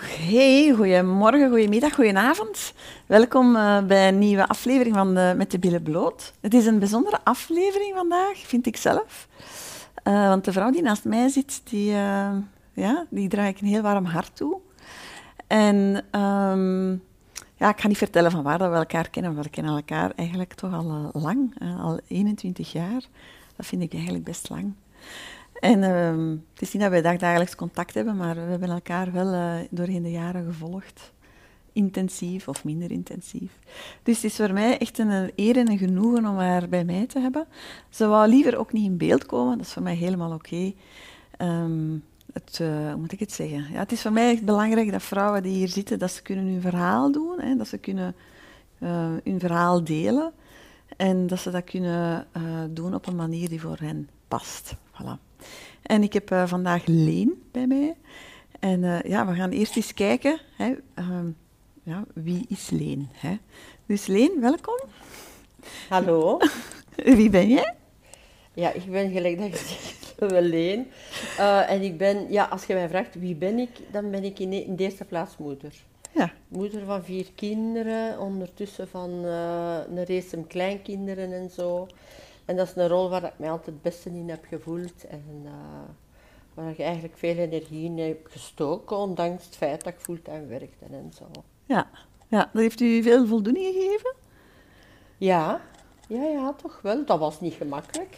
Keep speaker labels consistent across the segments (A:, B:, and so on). A: Hey, goedemorgen, goedemiddag, goedenavond. Welkom eh, bij een nieuwe aflevering van de Met de Billen Bloot. Het is een bijzondere aflevering vandaag, vind ik zelf. Eh, want de vrouw die naast mij zit, die, eh, ja, die draai ik een heel warm hart toe. En ehm, ja, ik ga niet vertellen van waar dat we elkaar kennen, want we kennen elkaar eigenlijk toch al eh, lang, eh, al 21 jaar. Dat vind ik eigenlijk best lang. En ehm, het is niet dat wij dag- dagelijks contact hebben, maar we hebben elkaar wel eh, doorheen de jaren gevolgd. Intensief of minder intensief. Dus het is voor mij echt een eh, eer en een genoegen om haar bij mij te hebben. Ze wou liever ook niet in beeld komen, dat is voor mij helemaal oké. Ehm, het, eh, hoe moet ik het zeggen? Ja, het is voor mij echt belangrijk dat vrouwen die hier zitten, dat ze kunnen hun verhaal doen, hè, dat ze kunnen eh, hun verhaal delen en dat ze dat kunnen eh, doen op een manier die voor hen past. Voilà. En ik heb eh, vandaag Leen bij mij. En eh, ja, we gaan eerst eens kijken, hè, ehm, ja, wie is Leen? Hè? Dus Leen, welkom.
B: Hallo.
A: Wie ben jij?
B: Ja, ik ben gelijk dat je zegt, Leen. Eh, en ik ben, ja, als je mij vraagt wie ben ik, dan ben ik in, e- in de eerste plaats moeder.
A: Ja,
B: Moeder van vier kinderen, ondertussen van eh, een race om kleinkinderen en zo. En dat is een rol waar ik mij altijd het beste in heb gevoeld. En eh, waar ik eigenlijk veel energie in heb gestoken, ondanks het feit dat ik fulltime werkte en zo.
A: ja, ja. Dat heeft u veel voldoening gegeven?
B: Ja, ja, ja, toch wel. Dat was niet gemakkelijk.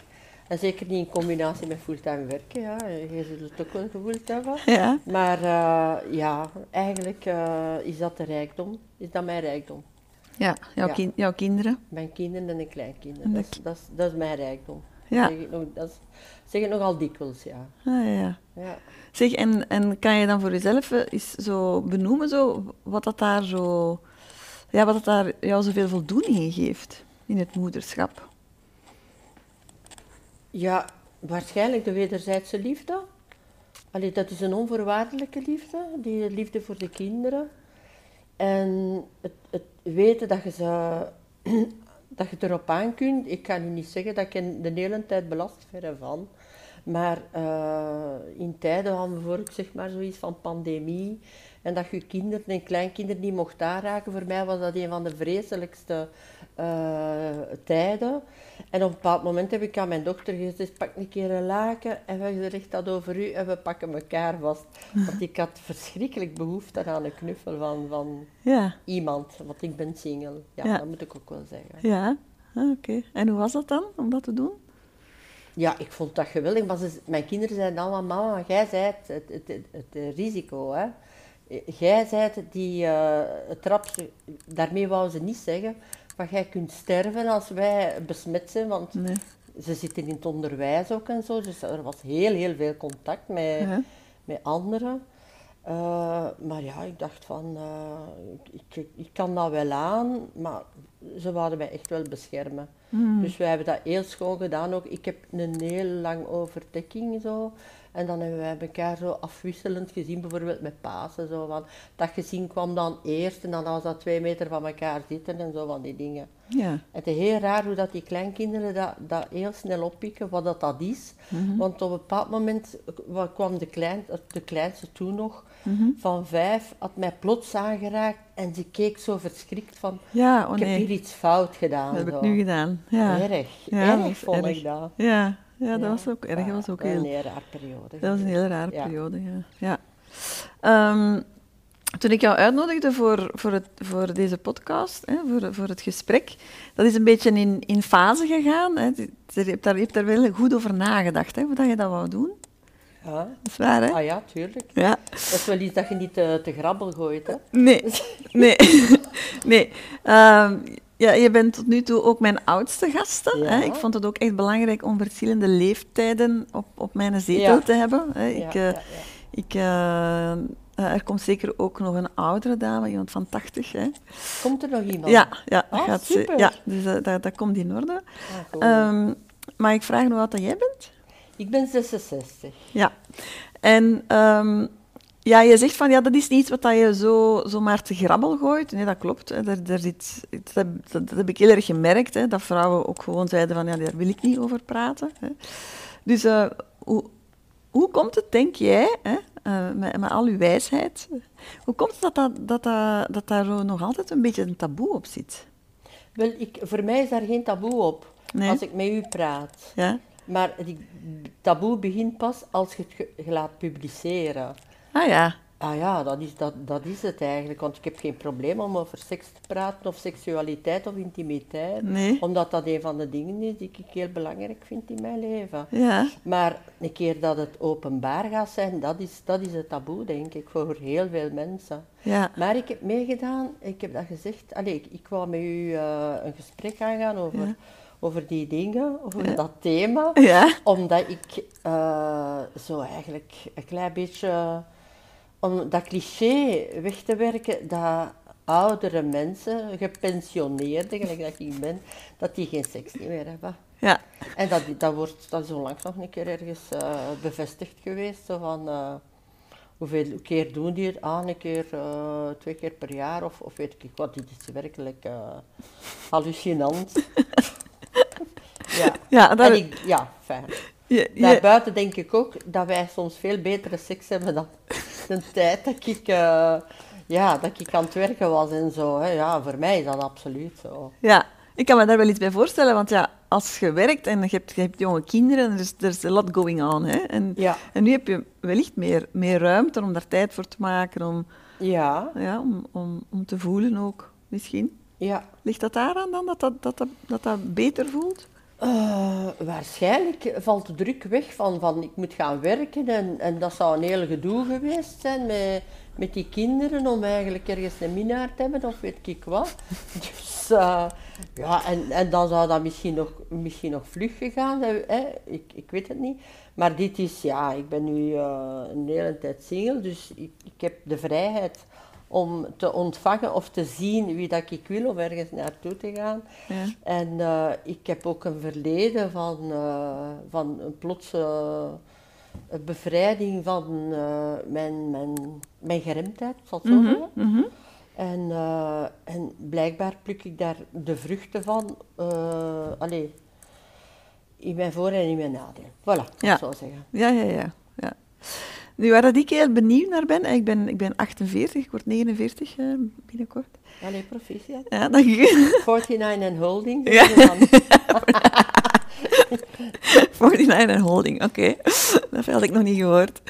B: En zeker niet in combinatie met fulltime werken, ja. Je zult het ook wel gevoeld hebben.
A: Ja.
B: Maar eh, ja, eigenlijk eh, is dat de rijkdom. Is dat mijn rijkdom.
A: Ja, jouw,
B: Ja.
A: kin- jouw kinderen.
B: Mijn kinderen en de kleinkinderen.
A: En de
B: Dat is, dat is, dat is mijn rijkdom.
A: Ja.
B: Dat, zeg ik nog, dat is, zeg ik nogal dikwijls, ja.
A: Ah, ja, ja.
B: ja.
A: Zeg, en, en kan je dan voor jezelf eh, eens zo benoemen zo, wat dat daar zo... Ja, wat dat daar jou zoveel voldoening in geeft in het moederschap?
B: Ja, waarschijnlijk de wederzijdse liefde. Allee, dat is een onvoorwaardelijke liefde, die liefde voor de kinderen. En het, het weten dat je, ze, dat je het erop aan kunt. Ik kan nu niet zeggen dat ik hen de hele tijd belast, verre van. Maar eh, in tijden van bijvoorbeeld zeg maar, zoiets van pandemie en dat je kinderen en kleinkinderen niet mocht aanraken, voor mij was dat een van de vreselijkste eh, tijden. En op een bepaald moment heb ik aan mijn dochter gezegd, pak een keer een laken en we richten dat over u en we pakken elkaar vast. Want ik had verschrikkelijk behoefte aan een knuffel van, van
A: Ja,
B: iemand, want ik ben single. Ja,
A: Ja.
B: dat moet ik ook wel zeggen.
A: ja. Ah, Oké. En hoe was dat dan, om dat te doen?
B: Ja, ik vond dat geweldig, maar ze, mijn kinderen zeiden allemaal, mama, jij zijt het, het, het, het, eh, risico, hè. Eh, Jij zijt die eh, het rapste, daarmee wou ze niet zeggen, maar jij kunt sterven als wij besmet zijn, want
A: Nee.
B: ze zitten in het onderwijs ook en zo, dus er was heel, heel veel contact met,
A: Ja.
B: met anderen. Eh, maar ja, ik dacht van, eh, ik, ik, ik kan dat wel aan, maar ze wouden mij echt wel beschermen. Dus wij hebben dat heel schoon gedaan ook. Ik heb een heel lang overdekking zo. En dan hebben wij elkaar zo afwisselend gezien, bijvoorbeeld met Pasen. Zo, van, dat gezin kwam dan eerst en dan was dat twee meter van elkaar zitten en zo van die dingen.
A: Ja.
B: Het is heel raar hoe dat die kleinkinderen dat, dat heel snel oppikken, wat dat, dat is.
A: Mhm.
B: Want op een bepaald moment wa- kwam de, klein, de kleinste toen nog,
A: Mhm.
B: van vijf, had mij plots aangeraakt en ze keek zo verschrikt van,
A: Ja, oh
B: ik heb
A: nee.
B: hier iets fout gedaan.
A: Dat heb ik
B: zo.
A: nu gedaan. Ja.
B: Erg,
A: Ja, dat
B: erg
A: was
B: vond
A: erg.
B: ik dat.
A: Ja, ja dat
B: Ja. Ah,
A: was ook erg. Dat was ook heel...
B: Een heel raar periode.
A: Dat was een hele rare
B: Dus eh, Ja.
A: periode, ja. ja. Ehm, toen ik jou uitnodigde voor, voor, het, voor deze podcast, hè, voor, voor het gesprek, dat is een beetje in, in fase gegaan. Hè. Je hebt daar, je hebt daar wel goed over nagedacht, hè, hoe dat je dat wou doen.
B: Ja.
A: Dat is waar, hè?
B: Ah ja, tuurlijk.
A: Ja.
B: Dat is wel iets dat je niet te, te grabbel gooit, hè.
A: Nee, nee, nee. Ehm, ja, je bent tot nu toe ook mijn oudste gasten. Hè?
B: Ja.
A: Ik vond het ook echt belangrijk om verschillende leeftijden op, op mijn zetel
B: Ja.
A: te hebben. Hè?
B: Ja,
A: Ik, eh,
B: ja, ja.
A: ik, eh, eh, er komt zeker ook nog een oudere dame, iemand van 80. Hè?
B: Komt er nog iemand?
A: Ja, ja, dat
B: Ah,
A: gaat ze-
B: super.
A: ja dus eh, dat, dat komt in orde.
B: Ah, goed.
A: Ehm, maar ik vraag nog wat dat jij bent.
B: ik ben 66.
A: Ja. En ehm, ja, je zegt van ja, dat is niet iets wat dat je zo, zomaar te grabbel gooit. Nee, dat klopt. Hè. Daar, daar zit, dat, heb- dat, dat heb ik heel erg gemerkt. Hè, dat vrouwen ook gewoon zeiden van ja, daar wil ik niet over praten. Hè. Dus eh, hoe, hoe Hoe komt het, denk jij, hè, eh, met, met al uw wijsheid, hoe komt het dat, dat, dat, dat, dat daar zo nog altijd een beetje een taboe op zit?
B: Wel, ik, voor mij is daar geen taboe op
A: Nee.
B: als ik met u praat.
A: Ja?
B: Maar het taboe begint pas als je het ge- je laat publiceren.
A: Ah ja,
B: Ah ja, dat is, dat, dat is het eigenlijk. Want ik heb geen probleem om over seks te praten, of seksualiteit of intimiteit.
A: Nee.
B: Omdat dat een van de dingen is die ik heel belangrijk vind in mijn leven.
A: ja.
B: Maar een keer dat het openbaar gaat zijn, dat is, dat is het taboe, denk ik, voor heel veel mensen.
A: Ja.
B: Maar ik heb meegedaan, ik heb dat gezegd. Allee, ik, ik wou met u eh, een gesprek aangaan over,
A: Ja.
B: over die dingen, over
A: Ja.
B: dat thema.
A: Ja.
B: Omdat ik eh, zo eigenlijk een klein beetje. Om dat cliché weg te werken dat oudere mensen, gepensioneerden, gelijk dat ik ben, dat die geen seks niet meer hebben.
A: Ja.
B: En dat, dat, wordt, dat is onlangs nog een keer ergens eh, bevestigd geweest. Zo van, eh, hoeveel keer doen die het aan? Een keer, eh, twee keer per jaar of, of weet ik wat. Dit is werkelijk eh, hallucinant. ja.
A: Ja, dat-
B: En ik, ja, fijn.
A: Je- je-
B: Daarbuiten denk ik ook dat wij soms veel betere seks hebben dan de tijd dat ik, eh, ja, dat ik aan het werken was en zo. Hè. Ja, voor mij is dat absoluut zo.
A: Ja, ik kan me daar wel iets bij voorstellen, want ja, als je werkt en je hebt, je hebt jonge kinderen, er is, er is a lot going on. Hè? En,
B: Ja.
A: en nu heb je wellicht meer, meer ruimte om daar tijd voor te maken, om,
B: Ja,
A: ja, om, om, om te voelen ook misschien.
B: ja.
A: Ligt dat daaraan dan, dat dat, dat, dat, dat, dat beter voelt?
B: Eh, waarschijnlijk valt de druk weg van, van ik moet gaan werken en, en dat zou een heel gedoe geweest zijn met, met die kinderen om eigenlijk ergens een minnaar te hebben of weet ik wat. Dus eh, ja, en, en dan zou dat misschien nog, misschien nog vlug gegaan zijn, hè? Ik, ik weet het niet. Maar dit is, ja, ik ben nu eh, een hele tijd single, dus ik, ik heb de vrijheid om te ontvangen of te zien wie dat ik wil om ergens naartoe te gaan.
A: Ja.
B: En eh, ik heb ook een verleden van, eh, van een plotse eh, bevrijding van eh, mijn, mijn, mijn geremdheid, zal ik zo zeggen.
A: Mhm.
B: En, eh, en blijkbaar pluk ik daar de vruchten van, eh allee, in mijn voor- en in mijn nadeel. Voilà,
A: Ja.
B: ja. zou zeggen.
A: Ja, ja, ja, ja. Nu, waar dat ik heel benieuwd naar ben, ik ben, ik ben 48, ik word 49 eh, binnenkort.
B: Allee, proficiat.
A: Ja, dank u.
B: 49 en holding.
A: Ja.
B: Ja. Dan.
A: 49 en holding, oké. Dat had ik nog niet gehoord.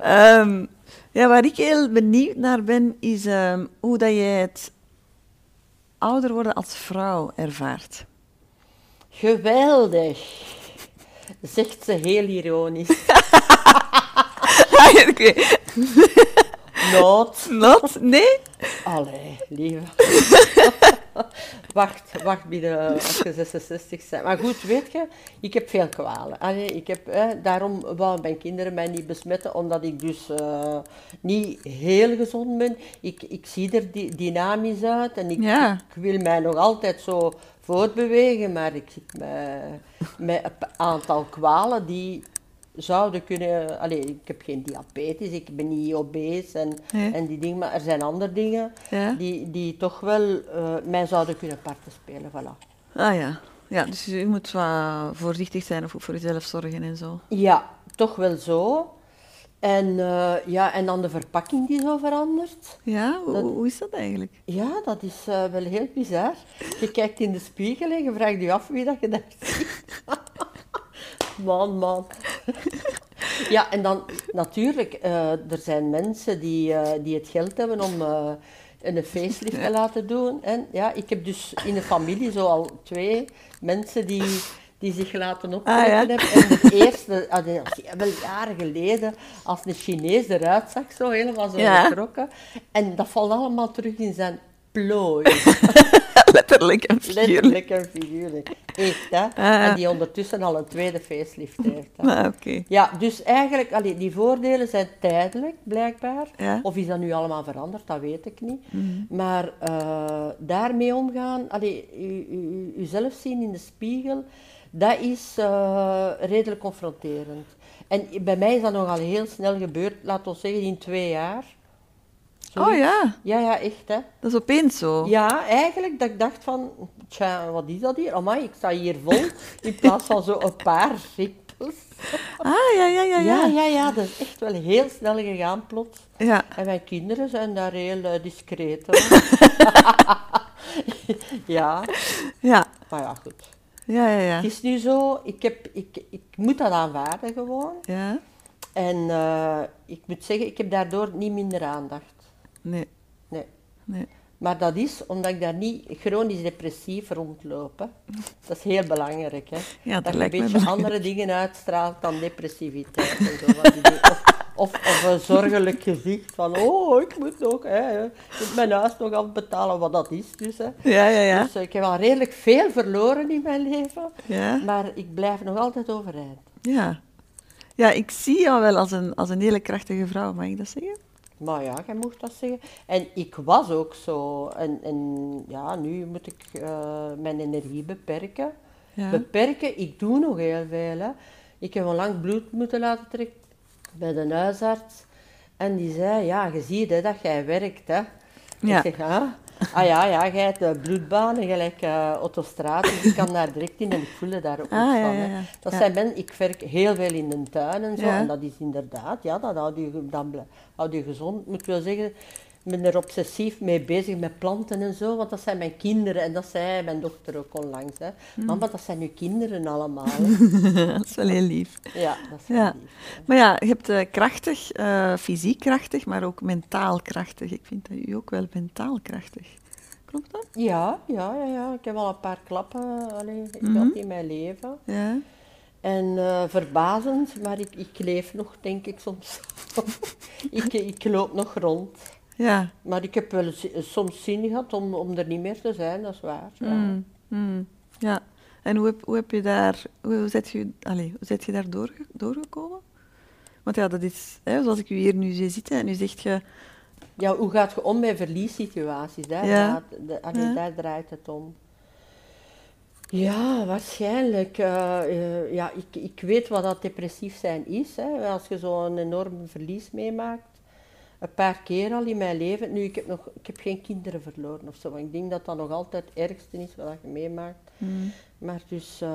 A: Ehm, ja, waar ik heel benieuwd naar ben, is ehm, hoe dat jij het ouder worden als vrouw ervaart.
B: Geweldig, zegt ze heel ironisch.
A: oké.
B: Nood.
A: Not? Nee?
B: Allee, lieve. wacht, wacht binnen als je 66 bent. Maar goed, weet je, ik heb veel kwalen. Allee, ik heb, eh, daarom wou mijn kinderen mij niet besmetten, omdat ik dus eh, niet heel gezond ben. Ik, ik zie er di- dynamisch uit en ik,
A: Ja.
B: ik wil mij nog altijd zo voortbewegen, maar ik zit met, met een aantal kwalen die zouden kunnen... Allee, ik heb geen diabetes, ik ben niet obese en,
A: Nee.
B: en die dingen, maar er zijn andere dingen
A: Ja.
B: die, die toch wel eh, mij zouden kunnen parten spelen, voilà.
A: Ah ja. Ja, dus je moet wat voorzichtig zijn of ook voor jezelf zorgen en zo.
B: Ja, toch wel zo. En, eh, ja, en dan de verpakking die zo verandert.
A: Ja, hoe,
B: Dat-
A: hoe is dat eigenlijk?
B: Ja, dat is eh, wel heel bizar. Je kijkt in de spiegel en je vraagt je af wie dat je daar ziet. man, man. ja, en dan natuurlijk, eh, er zijn mensen die, eh, die het geld hebben om eh, een facelift te laten doen. En ja, ik heb dus in de familie zo al twee mensen die, die zich laten optrekken
A: Ah, ja.
B: hebben. En de eerste, ah, die- wel jaren geleden, als een Chinees eruit zag, zo helemaal zo
A: Ja.
B: getrokken. En dat valt allemaal terug in zijn plooi.
A: Letterlijk en figuurlijk.
B: Letterlijk en figuurlijk. Echt, hè?
A: ja.
B: En die ondertussen al een tweede facelift heeft. hè.
A: Ah, oké.
B: Ja, dus eigenlijk, allee, die voordelen zijn tijdelijk, blijkbaar.
A: Ja.
B: Of is dat nu allemaal veranderd, dat weet ik niet.
A: Mhm.
B: Maar eh, daarmee omgaan, allee, u- u- u- uzelf zien in de spiegel, dat is eh, redelijk confronterend. En bij mij is dat nogal heel snel gebeurd, laten we zeggen in twee jaar.
A: Oh
B: Zoiets.
A: ja,
B: Ja, ja, echt hè.
A: dat is opeens zo.
B: Ja, eigenlijk dat ik dacht van, tja, wat is dat hier? Amai, ik sta hier vol in plaats van zo een paar rimpels. was.
A: Ah, ja, ja, ja.
B: Ja,
A: Ja,
B: ja, ja, dat is echt wel heel snel gegaan plots.
A: ja.
B: En mijn kinderen zijn daar heel eh, discreet over. ja,
A: ja.
B: maar ja, goed.
A: ja, ja, ja.
B: Het is nu zo, ik, heb, ik, ik moet dat aanvaarden gewoon.
A: Ja,
B: En eh, ik moet zeggen, ik heb daardoor niet minder aandacht.
A: nee.
B: Nee.
A: nee.
B: Maar dat is omdat ik daar niet chronisch depressief rondloop. hè. Dat is heel belangrijk. Hè.
A: Ja, dat
B: je
A: lijkt me
B: een beetje
A: belangrijk.
B: andere dingen uitstraalt dan depressiviteit. En zo, wat die dingen. of, of, of een zorgelijk gezicht van, oh, ik moet nog, hè, hè, ik moet mijn huis nog afbetalen, wat dat is dus. Hè.
A: Ja, ja, ja.
B: Dus eh, ik heb al redelijk veel verloren in mijn leven,
A: Ja,
B: maar ik blijf nog altijd overeind.
A: ja. Ja, ik zie jou wel als een, als een hele krachtige vrouw, mag ik dat zeggen?
B: Maar ja, jij mocht dat zeggen. En ik was ook zo. En, en ja, nu moet ik eh, mijn energie beperken.
A: Ja.
B: Beperken, ik doe nog heel veel. Hè. Ik heb onlangs bloed moeten laten trekken bij de huisarts. En die zei, ja, je ziet hè, dat jij werkt. Hè.
A: Ja.
B: Ik zeg, ah, ah ja, ja, jij hebt eh, bloedbanen gelijk eh autostraat. Dus ik kan daar direct in en ik voel er daar ook
A: Ah,
B: iets
A: ja,
B: van.
A: ja,
B: hè.
A: ja.
B: Dat
A: Ja.
B: zijn ben, ik werk heel veel in de tuin en zo.
A: Ja.
B: En dat is inderdaad, ja, dat houdt je, ge- dan blij- houdt je gezond. Ik moet wel zeggen, ik ben er obsessief mee bezig met planten en zo. Want dat zijn mijn kinderen en dat zei mijn dochter ook onlangs. Hè.
A: Hmm.
B: Mama, dat zijn uw kinderen allemaal. hè."
A: dat is wel heel lief.
B: ja, dat is
A: Ja.
B: wel lief.
A: Maar ja, je hebt eh, krachtig, eh, fysiek krachtig, maar ook mentaal krachtig. Ik vind dat u ook wel mentaal krachtig. Klopt dat?
B: Ja, ja, ja, ja. Ik heb al een paar klappen allee, ik
A: Mhm.
B: had in mijn leven.
A: Ja.
B: En eh, verbazend, maar ik, ik leef nog, denk ik soms. ik, ik loop nog rond.
A: Ja.
B: Maar ik heb wel zi- soms zin gehad om, om er niet meer te zijn, dat is waar. Ja.
A: Mm, mm, ja. En hoe heb, hoe heb je daar, hoe, hoe zet je, allez, hoe zet je daar doorge- doorgekomen? Want ja, dat is, hè, zoals ik u hier nu zie zitten en nu zegt je,
B: Ja, hoe gaat je om bij verliessituaties? Daar,
A: Ja.
B: draait, de- allee,
A: Ja.
B: daar draait het om. Ja, waarschijnlijk. eh, eh, ja, ik, ik weet wat dat depressief zijn is. Hè. Als je zo'n enorm verlies meemaakt. Een paar keer al in mijn leven. Nu, ik heb, nog, ik heb geen kinderen verloren of zo. want ik denk dat dat nog altijd het ergste is wat je meemaakt.
A: Mm.
B: Maar dus, eh,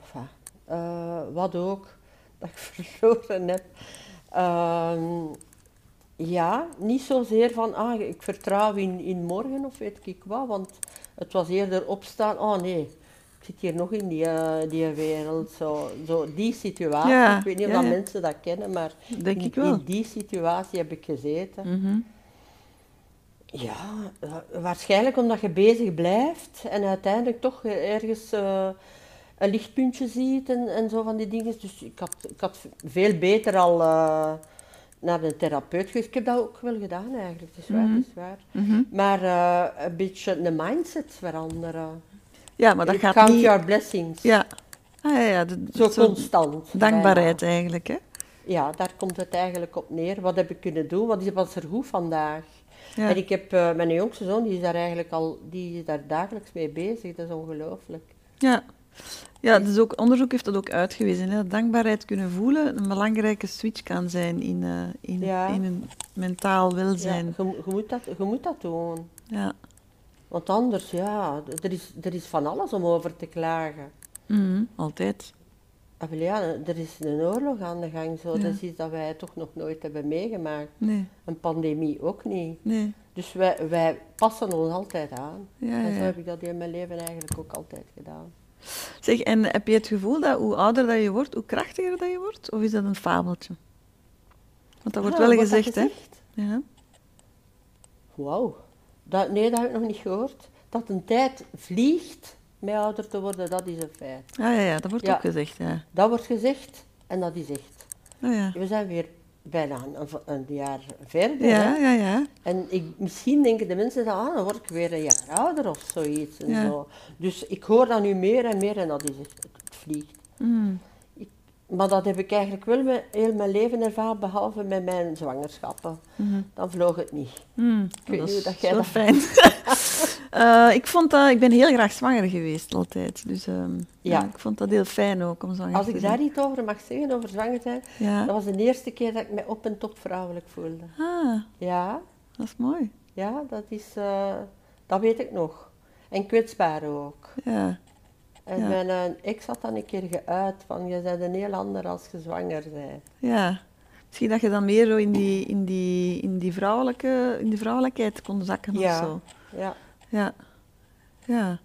B: enfin, eh, wat ook dat ik verloren heb. Ehm, ja, niet zozeer van, ah, ik vertrouw in, in morgen of weet ik wat, want het was eerder opstaan, oh nee, ik zit hier nog in die, eh, die wereld, zo, zo die situatie.
A: Ja,
B: ik weet niet
A: ja,
B: of
A: ja.
B: dat mensen dat kennen, maar
A: Denk
B: in,
A: ik wel.
B: in die situatie heb ik gezeten.
A: mhm,
B: Ja, wa- waarschijnlijk omdat je bezig blijft en uiteindelijk toch ergens eh, een lichtpuntje ziet en, en zo van die dingen. Dus ik had, ik had veel beter al eh, naar een therapeut geweest. Ik heb dat ook wel gedaan eigenlijk, het is waar, het is waar.
A: mhm.
B: Maar eh, een beetje de mindset veranderen.
A: ja, maar dat
B: You
A: gaat
B: Count
A: niet.
B: your blessings.
A: Ja, ah, ja, ja de-
B: Zo
A: zo'n
B: constant.
A: dankbaarheid
B: bijna.
A: eigenlijk, hè?
B: Ja, daar komt het eigenlijk op neer. Wat heb ik kunnen doen? Wat is- was er goed vandaag?
A: Ja.
B: En ik heb eh, mijn jongste zoon, die is daar eigenlijk al, die is daar dagelijks mee bezig. Dat is ongelooflijk.
A: Ja. Ja, dus ook onderzoek heeft dat ook uitgewezen. Hè? Dat dankbaarheid kunnen voelen een belangrijke switch kan zijn in, eh, in,
B: Ja.
A: in een mentaal welzijn.
B: Ja, je, je moet dat, je moet dat doen.
A: Ja.
B: Want anders, ja, d- er is, er is van alles om over te klagen.
A: Mhm, Altijd.
B: Ah, wel Ja, er is een oorlog aan de gang, zo.
A: Ja.
B: dat is iets dat wij toch nog nooit hebben meegemaakt.
A: Nee,
B: Een pandemie ook niet.
A: nee.
B: Dus wij, wij passen ons altijd aan.
A: Ja,
B: en zo
A: ja.
B: heb ik dat in mijn leven eigenlijk ook altijd gedaan.
A: Zeg, en heb je het gevoel dat hoe ouder dat je wordt, hoe krachtiger dat je wordt? Of is dat een fabeltje? Want dat wordt
B: Ah,
A: wel gezegd, hè?
B: gezegd?
A: Ja.
B: Wauw. Dat, nee, dat heb ik nog niet gehoord. Dat een tijd vliegt met ouder te worden, dat is een feit.
A: Ah, ja, ja, dat wordt
B: Ja.
A: ook gezegd, ja.
B: Dat wordt gezegd en dat is echt.
A: Ah, ja.
B: We zijn weer bijna een, een jaar verder.
A: Ja,
B: hè.
A: ja, ja.
B: En ik, misschien denken de mensen dan, ah, dan word ik weer een jaar ouder of zoiets. En
A: Ja.
B: zo. Dus ik hoor dat nu meer en meer en dat is echt, het, het vliegt.
A: Mm.
B: Maar dat heb ik eigenlijk wel mijn, heel mijn leven ervaren, behalve met mijn zwangerschappen.
A: Mhm.
B: Dan vloog het niet.
A: Mm,
B: weet
A: dat
B: niet
A: is
B: hoe dat jij
A: zo
B: dat-
A: fijn. Eh, ik, vond dat, ik ben heel graag zwanger geweest, altijd. Dus ehm, ja.
B: Ja.
A: ik vond dat heel fijn ook om zwanger
B: Als
A: te
B: ik
A: zijn.
B: daar iets over mag zeggen, over zwanger zijn,
A: Ja.
B: Dat was de eerste keer dat ik me op en top vrouwelijk voelde.
A: Ah,
B: Ja,
A: dat is mooi.
B: ja, dat is, eh, dat weet ik nog. En kwetsbaar ook.
A: Ja.
B: En
A: Ja.
B: mijn eh, ex had dan een keer geuit van, je bent een heel ander als je zwanger bent.
A: Ja. Misschien dat je dan meer zo in die, in die, in die, vrouwelijke, in die vrouwelijkheid kon zakken
B: Ja.
A: of zo.
B: Ja.
A: Ja. Ja.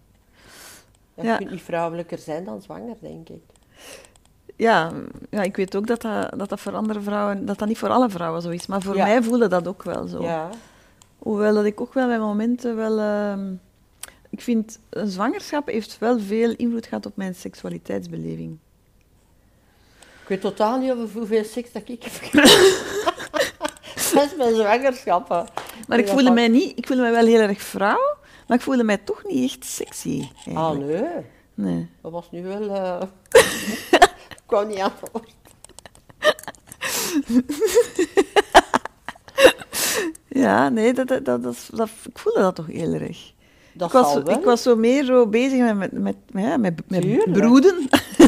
B: Ja,
A: Ja.
B: Je kunt niet vrouwelijker zijn dan zwanger, denk ik.
A: Ja, ja, ik weet ook dat dat, dat dat voor andere vrouwen, dat dat niet voor alle vrouwen zo is, maar voor
B: Ja.
A: mij voelde dat ook wel zo.
B: Ja.
A: Hoewel dat ik ook wel bij momenten wel. ehm, ik vind, een zwangerschap heeft wel veel invloed gehad op mijn seksualiteitsbeleving.
B: Ik weet totaal niet over hoeveel seks dat ik heb gehad. Dat is mijn zwangerschappen.
A: Maar ik voelde mij niet, ik voelde mij wel heel erg vrouw, maar ik voelde mij toch niet echt sexy. eigenlijk.
B: Ah, nee.
A: Nee.
B: Dat was nu wel... eh, ik kwam niet aan het woord.
A: Ja, nee, dat, dat, dat, dat, dat- ik voelde dat toch heel erg.
B: Dat
A: ik, was,
B: zal
A: zo-
B: wel.
A: ik was zo meer zo bezig met, met, met, met, ja, met, met
B: Tuurlijk.
A: broeden.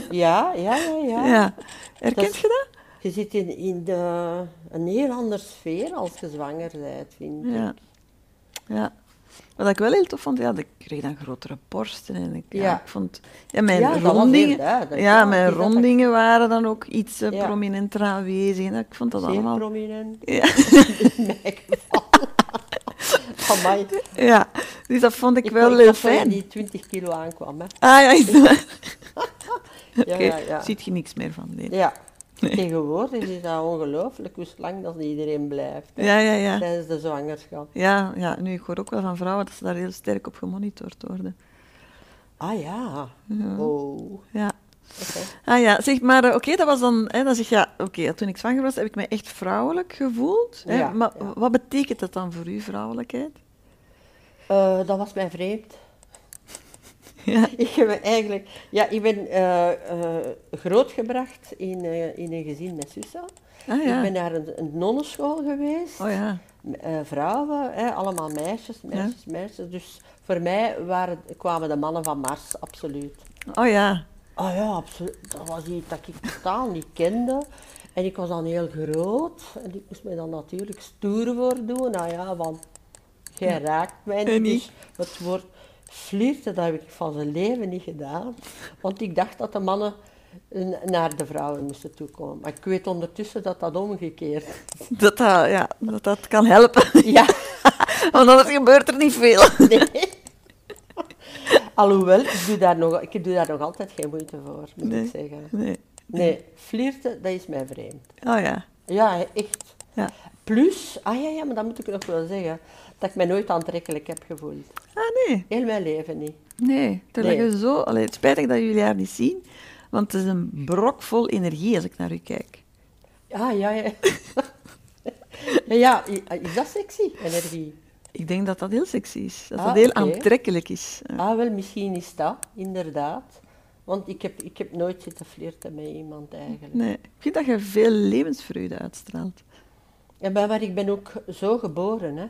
B: Ja, ja, ja. ja.
A: Ja. Herkent
B: Dat is-
A: je dat?
B: Je zit in, in de, een heel andere sfeer als je zwanger bent, vind ik.
A: Ja. ja. Wat ik wel heel tof vond, ja, ik kreeg dan grotere borsten. En ik, ja.
B: Ja.
A: ik vond, ja, mijn
B: Ja, dat was heel
A: rondingen,
B: duidelijk,
A: ja,
B: ja. Het
A: mijn
B: is dat dat-
A: rondingen waren dan ook iets eh,
B: Ja.
A: prominenter aanwezig. En ik vond dat
B: Zeer
A: allemaal...
B: prominent.
A: Ja.
B: In mijn geval. Amai.
A: Ja, dus dat vond ik,
B: Ik
A: wel
B: dacht
A: heel
B: dat ze
A: fijn.
B: die 20 kilo aankwam, hè.
A: Ah ja, is dat... Oké,
B: ja, ja.
A: ziet je niks meer van. Nee.
B: Ja.
A: Nee.
B: Tegenwoordig is dat ongelooflijk hoe lang dat iedereen blijft hè,
A: Ja, ja, ja.
B: tijdens de zwangerschap.
A: Ja, ja, nu ik hoor ook wel van vrouwen dat ze daar heel sterk op gemonitord worden.
B: Ah ja. Oh. Oké.
A: Ja. Ah ja, zeg maar, eh, oké, dat was dan, hè, dan zeg je, ja, oké, toen ik zwanger was, heb ik me echt vrouwelijk gevoeld. Hè,
B: Ja,
A: maar
B: ja.
A: wat betekent dat dan voor u, vrouwelijkheid?
B: Eh, dat was mij vreemd.
A: Ja,
B: Ik heb eigenlijk, ja, ik ben eh, eh, grootgebracht in, eh, in een gezin met zussen.
A: ah ja.
B: Ik ben naar een, een nonnenschool geweest.
A: Oh ja,
B: M- eh, vrouwen, hè, allemaal meisjes, meisjes, meisjes. Dus voor mij waren, kwamen de mannen van Mars, absoluut.
A: oh ja,
B: Ah ja, absoluut. Dat was iets dat ik totaal niet kende. En ik was dan heel groot. En ik moest mij dan natuurlijk stoer voor doen. Nou ja, want jij raakt mij
A: En
B: niet.
A: niet.
B: Dus het woord flirten, dat heb ik van zijn leven niet gedaan. Want ik dacht dat de mannen n- naar de vrouwen moesten toekomen. Maar ik weet ondertussen dat dat omgekeerd is.
A: dat dat, ja, dat, dat kan helpen.
B: Ja,
A: Want anders gebeurt er niet veel.
B: nee. Alhoewel, ik doe, daar nog, ik doe daar nog altijd geen moeite voor, moet
A: Nee.
B: ik zeggen.
A: Nee.
B: Nee, flirten, dat is mij vreemd.
A: Oh ja,
B: Ja, echt.
A: ja.
B: Plus, ah ja, ja, maar dat moet ik nog wel zeggen, dat ik mij nooit aantrekkelijk heb gevoeld.
A: Ah nee,
B: Heel mijn leven niet.
A: nee. Terwijl
B: Nee.
A: je zo, allee, het is spijtig dat jullie haar niet zien, want het is een brok vol energie als ik naar u kijk.
B: Ah ja, ja. ja, ja, i- is dat sexy, energie?
A: Ik denk dat dat heel sexy is, dat
B: Ah,
A: dat heel
B: oké.
A: aantrekkelijk is. Ja.
B: Ah wel, misschien is dat, inderdaad. Want ik heb, ik heb nooit zitten flirten met iemand eigenlijk.
A: Nee, ik vind dat je veel levensvreugde uitstraalt.
B: Ja, maar, maar ik ben ook zo geboren, hè.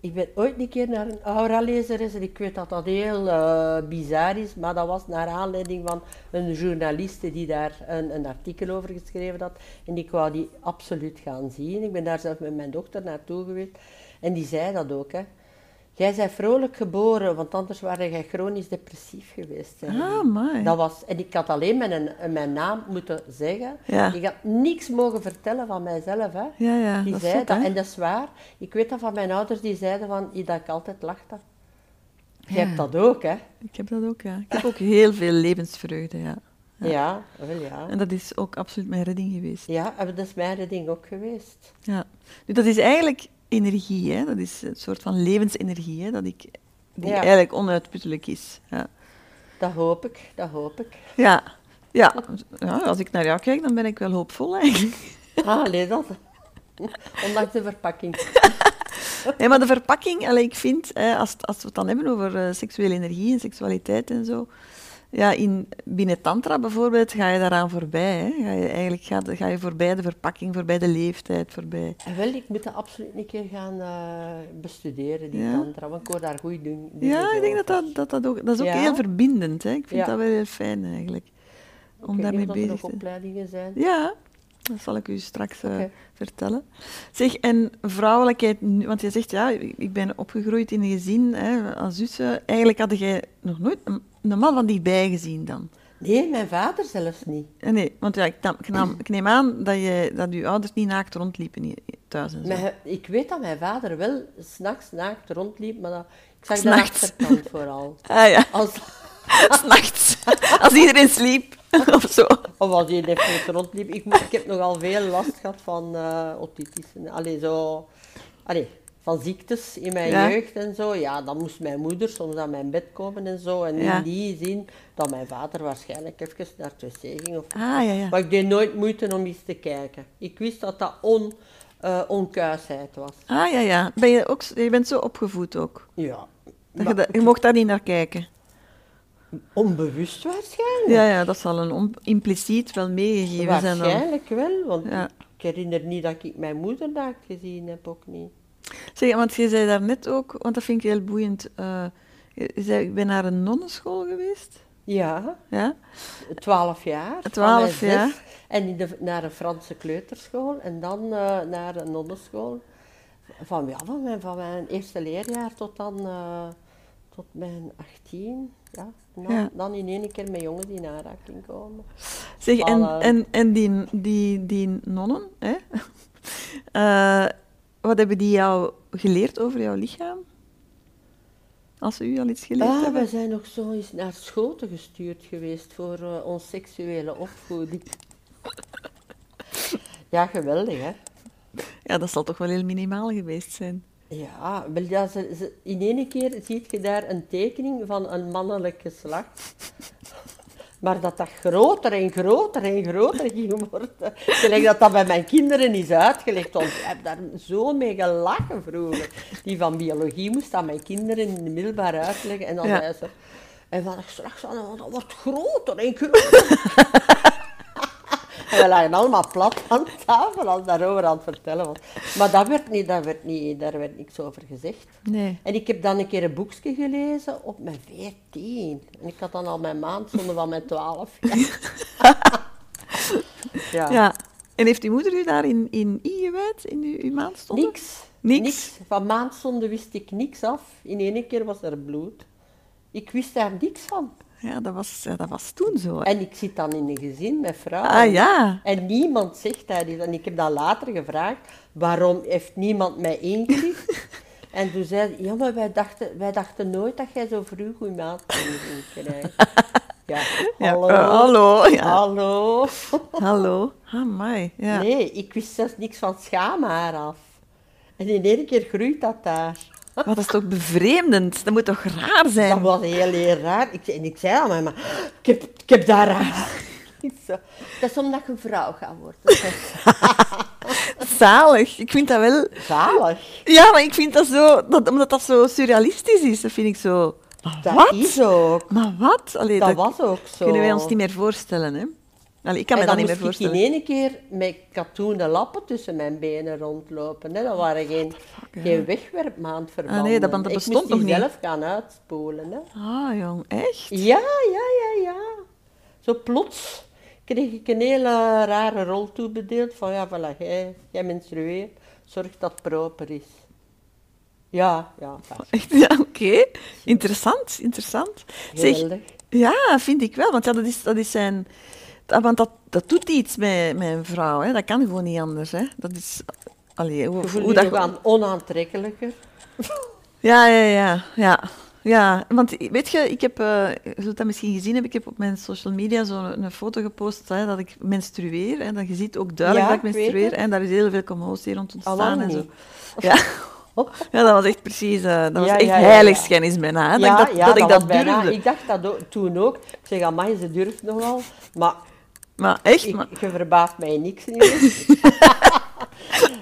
B: Ik ben ooit een keer naar een aura-lezeres en ik weet dat dat heel eh, bizar is, maar dat was naar aanleiding van een journaliste die daar een, een artikel over geschreven had. En ik wou die absoluut gaan zien. Ik ben daar zelf met mijn dochter naartoe geweest en die zei dat ook, hè. Jij bent vrolijk geboren, want anders waren jij chronisch depressief geweest. zei
A: Ah,
B: die.
A: amai.
B: Dat was, en ik had alleen mijn, mijn naam moeten zeggen.
A: Ja.
B: Ik had niks mogen vertellen van mijzelf. Hè.
A: Ja, ja,
B: die
A: dat is
B: zei
A: zot,
B: dat,
A: hè?
B: en dat is waar. Ik weet dat van mijn ouders, die zeiden van, "Ih, dat ik altijd lachte. Je
A: Ja.
B: hebt dat ook, hè?
A: Ik heb dat ook, ja. Ik heb ook heel veel levensvreugde, ja.
B: Ja, wel ja.
A: En dat is ook absoluut mijn redding geweest.
B: Ja, en dat is mijn redding ook geweest.
A: Ja. Nu, dat is eigenlijk energie, hè. Dat is een soort van levensenergie, hè, dat ik, die
B: Ja.
A: eigenlijk onuitputtelijk is. Ja.
B: Dat hoop ik, dat hoop ik.
A: Ja. Ja. ja, als ik naar jou kijk, dan ben ik wel hoopvol eigenlijk.
B: Ah, nee, dat. Ondanks de verpakking.
A: Nee, maar de verpakking, allee, ik vind, hè, als, als we het dan hebben over eh, seksuele energie en seksualiteit en zo, ja, in, binnen Tantra bijvoorbeeld ga je daaraan voorbij. Hè. Ga je, eigenlijk ga, de- ga je voorbij de verpakking, voorbij de leeftijd, voorbij.
B: En wel, ik moet dat absoluut een keer gaan eh, bestuderen, die
A: Ja.
B: tantra, want ik hoor daar goed doen.
A: Ja, ik denk dat dat, dat, dat ook... Dat is ook
B: Ja?
A: heel verbindend, hè. Ik vind
B: Ja.
A: dat wel heel fijn eigenlijk, om daarmee
B: dat er
A: bezig
B: nog
A: te zijn.
B: opleidingen zijn.
A: Ja, Dat zal ik u straks eh,
B: Oké.
A: vertellen. Zeg, en vrouwelijkheid, nu- want je zegt ja, ik ik ben opgegroeid in een gezin hè, als zussen. Eigenlijk had jij nog nooit een, een man van dichtbij gezien dan?
B: Nee, mijn vader zelfs niet.
A: Eh, Nee, want ja, ik, nam- ik, nam- ik neem aan dat je dat uw ouders niet naakt rondliepen i- thuis en zo.
B: Maar hij- ik weet dat mijn vader wel s'nachts naakt rondliep, maar dat, ik zag de
A: S'nachts.
B: achterkant vooral.
A: Ah ja,
B: Als,
A: s'nachts. als iedereen sliep of zo.
B: of als hij even rondliep. Ik, moet- ik heb nogal veel last gehad van eh, otitis. en- Allee, zo, allee, van ziektes in mijn
A: Ja.
B: jeugd en zo. Ja, dan moest mijn moeder soms aan mijn bed komen en zo. En
A: Ja.
B: in die zin dat mijn vader waarschijnlijk even naar het wc ging. Of,
A: Ah ja, ja.
B: Maar ik deed nooit moeite om iets te kijken. Ik wist dat dat on, eh, onkuisheid was.
A: Ah ja, ja. Ben je, ook, s- je bent zo opgevoed ook.
B: Ja.
A: Dat je,
B: Maar
A: dat- je mocht daar niet naar kijken.
B: Onbewust waarschijnlijk.
A: Ja, ja, dat zal een on- impliciet wel meegegeven zijn. Dan.
B: Waarschijnlijk wel, want
A: Ja.
B: ik herinner niet dat ik mijn moeder naakt gezien heb, ook niet.
A: Zeg, want je zei daarnet ook, want dat vind ik heel boeiend. eh, je zei, ik ben naar een nonnenschool geweest.
B: Ja,
A: Ja?
B: twaalf jaar. van
A: Twaalf
B: mijn zes.
A: jaar.
B: En in de, naar een Franse kleuterschool en dan eh, naar een nonneschool. Van, ja, van, mijn, van mijn eerste leerjaar tot dan eh, tot mijn 18. Ja. En Dan,
A: Ja.
B: dan in één keer met jongens in aanraking komen.
A: Zeg, en,
B: Voilà.
A: en, en die, die, die nonnen, hè? Eh, wat hebben die jou geleerd over jouw lichaam? Als ze u al iets geleerd
B: Ah,
A: hebben?
B: we zijn nog zo eens naar Schoten gestuurd geweest voor eh ons seksuele opvoeding. ja, geweldig, hè?
A: Ja, dat zal toch wel heel minimaal geweest zijn.
B: Ja, wel, ja, ze- ze- in één keer ziet je daar een tekening van een mannelijk geslacht. Maar dat dat groter en groter en groter ging worden. Gelijk dat dat bij mijn kinderen is uitgelegd. Want ik heb daar zo mee gelachen vroeger. Die van biologie moest aan mijn kinderen in de middelbaar uitleggen. En dan
A: Ja.
B: zei ze... En van straks aan, dat wordt groter en groter. en we lagen allemaal plat aan tafel als daarover aan het vertellen was. Maar dat werd niet, dat werd niet, daar werd niks over gezegd.
A: Nee.
B: En ik heb dan een keer een boekje gelezen op mijn 14. En ik had dan al mijn maand zonder van mijn 12. jaar. ja.
A: Ja. En heeft uw moeder u daarin in ingewijd, in uw, uw maandstonden?
B: Niks.
A: Niks?
B: Van maandzonde wist ik niks af. In één keer was er bloed. Ik wist daar niks van.
A: Ja, dat was, ja, dat was toen zo. hè.
B: En ik zit dan in een gezin met vrouwen.
A: Ah ja.
B: En niemand zegt daar iets. En ik heb dat later gevraagd, waarom heeft niemand mij ingelicht? en toen zei ze, ja, maar wij dachten, wij dachten nooit dat jij zo vroeg uw maat ging krijgen. ja,
A: Ja,
B: hallo.
A: eh, hallo. Ja.
B: Hallo.
A: Hallo. Amai. Ja.
B: Nee, ik wist zelfs niks van schaamhaar af. En in één keer groeit dat daar.
A: Maar dat is toch bevreemdend? Dat moet toch raar zijn?
B: Dat was heel, heel raar. Ik, zei- en ik zei aan mijn man, ik heb, ik heb daar raar. Ik zo, Dat is omdat je een vrouw gaat worden.
A: Zalig. Ik vind dat wel...
B: Zalig.
A: Ja, maar ik vind dat zo... Dat, omdat dat zo surrealistisch is, dat vind ik zo... Maar
B: Dat
A: wat?
B: is ook.
A: Maar wat? Allee,
B: Dat was ook zo.
A: kunnen wij ons niet meer voorstellen, hè? Allee, ik kan me
B: en
A: dat
B: dan
A: niet meer
B: moest ik in
A: voorstellen.
B: één keer met katoenen lappen tussen mijn benen rondlopen. Hè.
A: Oh,
B: Dat waren geen,
A: ja.
B: geen wegwerpmaandverbanden.
A: Ah, nee, dat- want dat
B: ik
A: bestond
B: moest die
A: nog niet.
B: zelf gaan uitspoelen. Hè.
A: Ah, jong. Echt?
B: Ja, ja, ja, ja. Zo plots kreeg ik een hele rare rol toebedeeld. Van ja, voilà, jij, jij menstrueert, zorg dat het proper is. Ja, ja. fijn.
A: Echt? Ja, oké. Interessant, interessant.
B: Geweldig.
A: ja, vind ik wel. Want ja, dat is, dat is zijn... dat- Want dat, dat doet iets met, met een vrouw, hè? Dat kan gewoon niet anders, hè? Dat is... Allee, hoe,
B: Ik voel
A: hoe
B: me
A: dat...
B: nog aan onaantrekkelijker.
A: Ja, ja, ja, ja. Ja, want i- weet je, ik heb, eh, je zult dat misschien gezien hebben, ik heb op mijn social media zo'n een foto gepost hè, dat ik menstrueer. En dan je ziet ook duidelijk
B: Ja,
A: dat ik
B: ik weet
A: menstrueer. En daar is heel veel commotie rond ontstaan
B: Allang
A: en zo.
B: niet.
A: Ja. ja, dat was echt precies, eh, dat was
B: Ja,
A: echt
B: ja, ja, ja.
A: heiligschennis bijna. Hè, dat ik dat, dat, ik dat
B: was bijna-
A: durfde.
B: Ik dacht dat ook- toen ook. Ik zeg, amai, ze durft nogal. Maar,
A: Maar echt,
B: ik,
A: maar,
B: je verbaast mij niks meer.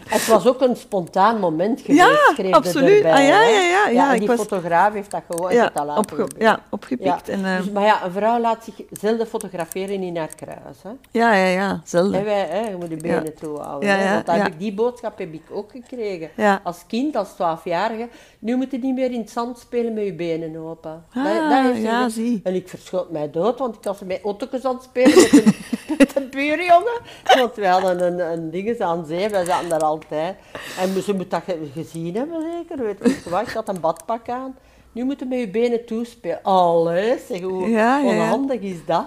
B: het was ook een spontaan moment geweest,
A: Ja,
B: schreef
A: absoluut.
B: erbij.
A: Ah, ja,
B: hè.
A: ja, ja, ja,
B: en
A: ik
B: die
A: was-
B: fotograaf heeft dat gewoon heeft dat
A: ja,
B: laten
A: opge-
B: gebeuren.
A: ja, opgepikt.
B: Ja.
A: En, eh,
B: Dus- maar ja, een vrouw laat zich zelden fotograferen in haar kruis. Hè.
A: ja, ja, ja, zelden.
B: En wij, hè, je moet de benen
A: Ja.
B: toe houden.
A: Ja,
B: hè,
A: ja,
B: want dat
A: ja.
B: heb ik, die boodschap heb ik ook gekregen.
A: Ja.
B: Als kind, als twaalfjarige. Nu moet je niet meer in het zand spelen met je benen open.
A: Ah,
B: ze
A: ja,
B: gezegd.
A: zie.
B: En ik verschoot mij dood, want ik was met auto's aan het spelen met een, met een twee uur, jongen. Want we hadden een, een dinges aan zee, wij zaten daar altijd. En ze moet dat ge- gezien hebben, zeker. Weet ik wat, ik had een badpak aan. Nu moeten we met je benen toespelen. Allee, zeg, hoe
A: Ja, ja, ja.
B: onhandig is dat?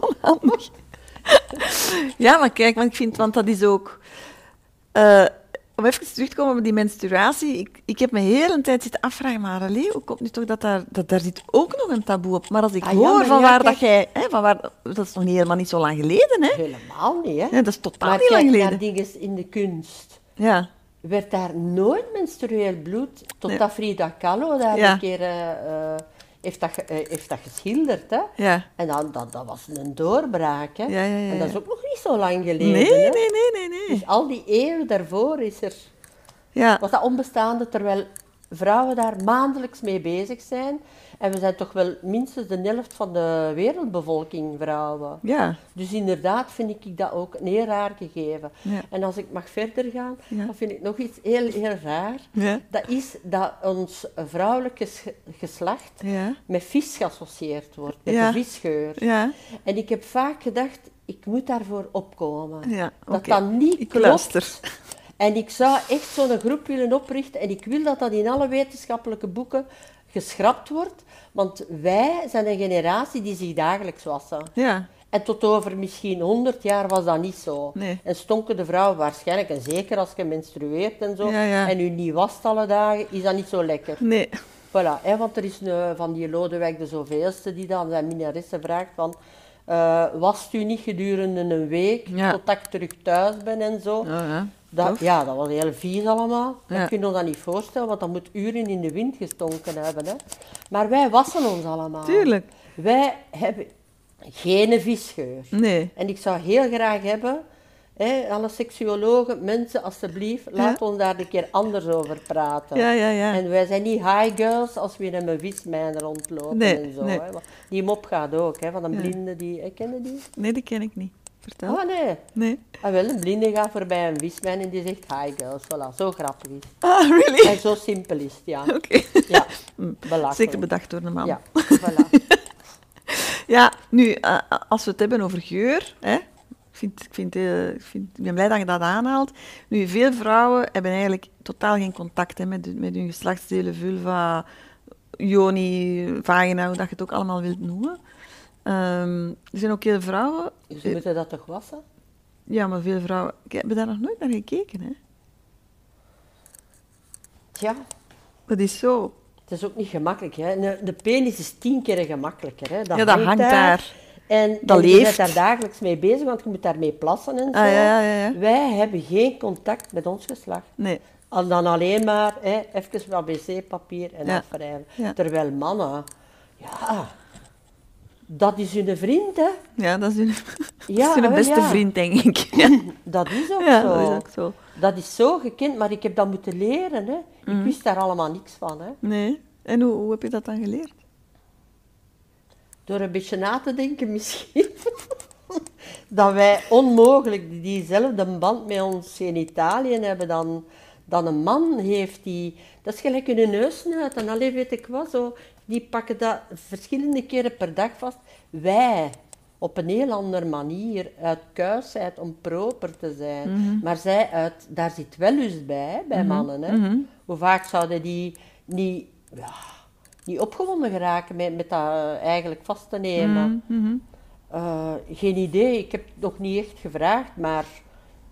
A: Onhandig. ja, maar kijk, want ik vind, want dat is ook. eh, om even terug te komen op die menstruatie. Ik, ik heb me heel een tijd zitten afvragen, maar allee, hoe komt nu toch dat daar, dat daar zit ook nog een taboe op? Maar als ik
B: Ah, ja,
A: hoor
B: maar
A: van
B: ja,
A: waar
B: kijk.
A: dat jij, hè, van waar, dat is nog niet helemaal niet zo lang geleden, hè?
B: Helemaal niet, hè.
A: Ja, dat is totaal
B: maar
A: niet lang
B: kijk naar
A: geleden.
B: dinges in de kunst.
A: Ja,
B: werd daar nooit menstrueel bloed, totdat
A: Nee.
B: Frida Kahlo daar
A: Ja.
B: een keer eh, eh, heeft, dat, ge- eh, heeft dat geschilderd. Hè?
A: ja.
B: En dan, dat, dat was een doorbraak. Hè?
A: Ja, ja, ja,
B: En dat is
A: ja.
B: ook nog niet zo lang geleden.
A: Nee,
B: hè.
A: nee, nee, nee, nee.
B: Dus al die eeuwen daarvoor is er,
A: Ja,
B: was dat onbestaande, terwijl vrouwen daar maandelijks mee bezig zijn. En we zijn toch wel minstens de helft van de wereldbevolking vrouwen.
A: ja.
B: Dus inderdaad vind ik dat ook een heel raar gegeven.
A: Ja.
B: En als ik mag verder gaan,
A: Ja.
B: dan vind ik nog iets heel, heel raar.
A: Ja.
B: Dat is dat ons vrouwelijk ges- geslacht
A: Ja.
B: met vis geassocieerd wordt, met
A: Ja.
B: de visgeur.
A: Ja,
B: En ik heb vaak gedacht, ik moet daarvoor opkomen.
A: Ja,
B: dat
A: oké.
B: dat niet
A: Ik
B: klopt.
A: luister.
B: En ik zou echt zo'n groep willen oprichten en ik wil dat dat in alle wetenschappelijke boeken geschrapt wordt, want wij zijn een generatie die zich dagelijks wassen.
A: ja.
B: En tot over misschien 100 jaar was dat niet zo.
A: Nee.
B: En stonken de vrouwen waarschijnlijk, en zeker als je menstrueert en zo,
A: Ja, ja.
B: en u niet wast alle dagen, is dat niet zo lekker.
A: Nee.
B: Voilà, hè, want er is een, van die Lodewijk de zoveelste die dan aan zijn minnaressen vraagt van... eh wast u niet gedurende een week,
A: Ja.
B: totdat ik terug thuis ben en zo.
A: Ja, ja.
B: Dat,
A: Tof.
B: Oh, ja, dat was heel vies allemaal.
A: Ja.
B: Dat kunnen we dat niet voorstellen, want dat moet uren in de wind gestonken hebben. Hè. Maar wij wassen ons allemaal.
A: Tuurlijk.
B: Wij hebben geen visgeur.
A: Nee.
B: En ik zou heel graag hebben, hè, alle seksuologen, mensen alsjeblieft, laat ons daar een keer anders over praten.
A: Ja, ja, ja.
B: En wij zijn niet high girls als we in een vismijn rondlopen
A: Nee,
B: en zo.
A: nee.
B: Hè. Want Die mop gaat ook, hè, van een
A: Ja.
B: blinde die... eh, Ken je die?
A: Nee, die ken ik niet. Vertel.
B: Ah, nee.
A: Nee.
B: Ah, wel, een blinde gaat voorbij een vismijn en die zegt hi girls. Voilà, zo grappig is het.
A: Ah, really?
B: En zo simpel is het, ja.
A: Oké. Mm.
B: Ja, belachelijk.
A: Zeker bedacht door een man.
B: Ja,
A: Ja,
B: voilà.
A: nu, eh, als we het hebben over geur, hè, ik, vind, ik, vind, eh, ik vind, ik ben blij dat je dat aanhaalt. Nu, veel vrouwen hebben eigenlijk totaal geen contact hè, met, hun- met hun geslachtsdelen, vulva, joni, vagina, hoe dat je het ook allemaal wilt noemen. Ehm, er zijn ook heel vrouwen... eh,
B: Ze Dus moeten dat toch wassen?
A: Ja, maar veel vrouwen... Ik heb daar nog nooit naar gekeken, hè.
B: Tja,
A: Dat is zo.
B: Het is ook niet gemakkelijk. Hè. De, de penis is tien keer gemakkelijker. Hè.
A: Ja, dat hangt daar.
B: En,
A: Dat
B: en je
A: leeft.
B: bent daar dagelijks mee bezig, want je moet daarmee plassen en zo.
A: Ah, ja, ja, ja.
B: Wij hebben geen contact met ons geslacht.
A: Nee.
B: Al dan alleen maar hè, even wat wc-papier en
A: Ja.
B: afwrijven.
A: Ja.
B: Terwijl mannen, ja, dat is hun vriend, hè.
A: Ja, dat is hun,
B: Ja,
A: dat is hun
B: wel,
A: beste
B: ja.
A: vriend, denk ik. Ja,
B: Dat is ook
A: Ja,
B: zo.
A: dat is ook zo.
B: Dat is zo gekend, maar ik heb dat moeten leren. Hè.
A: Mhm.
B: Ik wist daar allemaal niks van. Hè.
A: Nee. En hoe, hoe heb je dat dan geleerd?
B: Door een beetje na te denken misschien. dat wij onmogelijk diezelfde band met ons genitaliën hebben dan, dan een man heeft die... Dat is gelijk in hun neusnuit. En alleen weet ik wat, zo, die pakken dat verschillende keren per dag vast. Wij, op een heel andere manier, uit kuisheid om proper te zijn. Maar zij uit, daar zit wel lust bij, hè, bij mannen. Hè. Hoe vaak zouden die niet... Ja, niet opgewonden geraken met, met dat eh, eigenlijk vast te nemen.
A: Mhm.
B: Eh, geen idee, ik heb het nog niet echt gevraagd, maar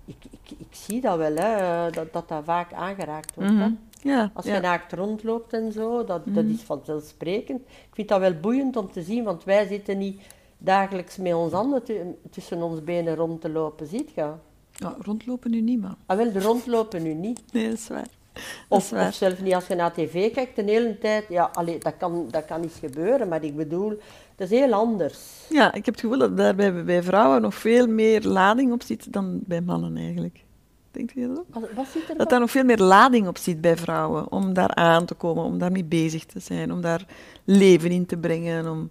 B: ik, ik, ik zie dat wel, hè, eh, dat, dat dat vaak aangeraakt wordt. hè.
A: Ja,
B: Als
A: Mhm. ja. Mhm.
B: je naakt rondloopt en zo, dat, dat is vanzelfsprekend. Ik vind dat wel boeiend om te zien, want wij zitten niet dagelijks met ons handen tu- tussen ons benen rond te lopen, ziet je?
A: Ja, rondlopen nu niet, man.
B: Ah, wel, de rondlopen nu niet.
A: Nee, dat is waar. Dat is
B: Of,
A: waar.
B: of zelfs niet als je naar tv kijkt de hele tijd. Ja, allee, dat, kan, dat kan iets gebeuren, maar ik bedoel, het is heel anders.
A: Ja, ik heb het gevoel dat daar bij, bij vrouwen nog veel meer lading op zit dan bij mannen eigenlijk. Denkt u dat ook?
B: Wat, wat zit er
A: Dat daar nog veel meer lading op zit bij vrouwen. Om daar aan te komen, om daarmee bezig te zijn, om daar leven in te brengen. Om...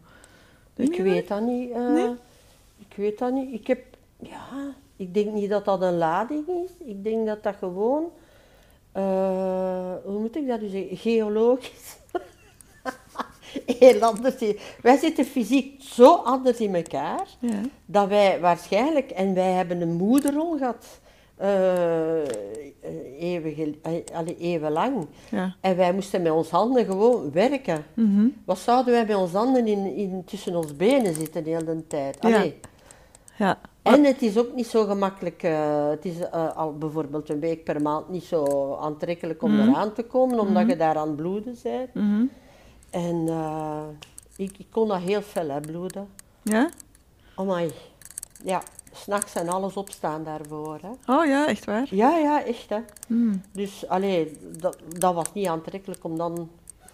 B: Ik weet dat niet. eh,
A: Nee?
B: Ik weet dat niet. Ik heb, ja, ik denk niet dat dat een lading is. Ik denk dat dat gewoon, eh, hoe moet ik dat nu zeggen, geologisch. heel anders in. Wij zitten fysiek zo anders in elkaar,
A: Ja.
B: dat wij waarschijnlijk, en wij hebben een moederrol gehad, eh, eeuwen, gel- eh, allee, eeuwenlang.
A: Ja.
B: En wij moesten met ons handen gewoon werken.
A: Mhm.
B: Wat zouden wij met ons handen in, in, tussen ons benen zitten de hele tijd?
A: Ja.
B: Allee.
A: ja.
B: En het is ook niet zo gemakkelijk. eh, het is eh, al bijvoorbeeld een week per maand niet zo aantrekkelijk om eraan te komen, omdat je daar aan het bloeden bent.
A: Mhm.
B: En eh, ik, ik kon dat heel fel hè, bloeden.
A: Ja?
B: Amai. Ja, s'nachts en alles opstaan daarvoor. Hè.
A: Oh ja, echt waar.
B: Ja, ja, echt hè.
A: Mm.
B: Dus allee, dat, dat was niet aantrekkelijk om dan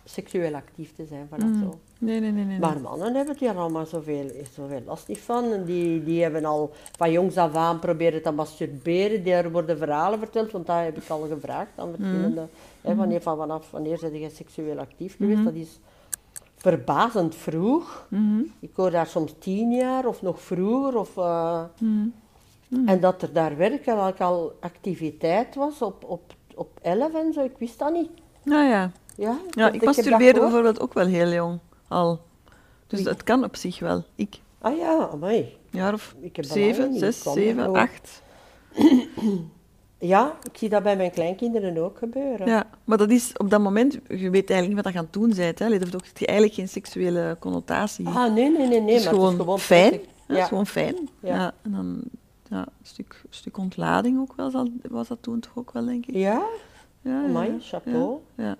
B: seksueel actief te zijn van
A: Mm.
B: dat zo.
A: Nee, nee, nee, nee. nee.
B: Maar mannen hebben hier allemaal zoveel, zoveel last niet van. En Die, die hebben al van jongs af aan proberen te masturberen. Daar worden verhalen verteld, want dat heb ik al gevraagd aan verschillende.
A: Mhm.
B: Hè, wanneer, van, vanaf wanneer zijn jij seksueel actief geweest? Dat is verbazend vroeg.
A: Mhm.
B: Ik hoor daar soms tien jaar of nog vroeger. Of, eh,
A: Mhm.
B: En dat er daar werkelijk al activiteit was op, op, op elf en zo. Ik wist dat niet.
A: Nou ja.
B: Ja,
A: ja ik
B: heb- heb dat
A: masturbeerde
B: gehoord.
A: bijvoorbeeld ook wel heel jong al. Dus
B: Oei.
A: dat kan op zich wel. Ik,
B: Ah ja, amai.
A: een jaar of
B: Ik heb dat lang
A: zeven,
B: niet.
A: zes,
B: Ik kwam er
A: zeven,
B: ook.
A: acht.
B: Ja, ik zie dat bij mijn kleinkinderen ook gebeuren.
A: Ja, maar dat is op dat moment, je weet eigenlijk niet wat je aan het doen bent. Hè. Dat heeft ook eigenlijk geen seksuele connotatie.
B: Ah, nee, nee, nee, nee.
A: het, is
B: maar
A: gewoon
B: het is gewoon
A: fijn.
B: prettig.
A: hè, Het is gewoon fijn. Ja.
B: Ja.
A: en dan ja, een, stuk, een stuk ontlading ook wel, zal- was dat toen toch ook wel, denk ik.
B: Ja,
A: Ja, ja,
B: amai,
A: ja.
B: chapeau.
A: Ja.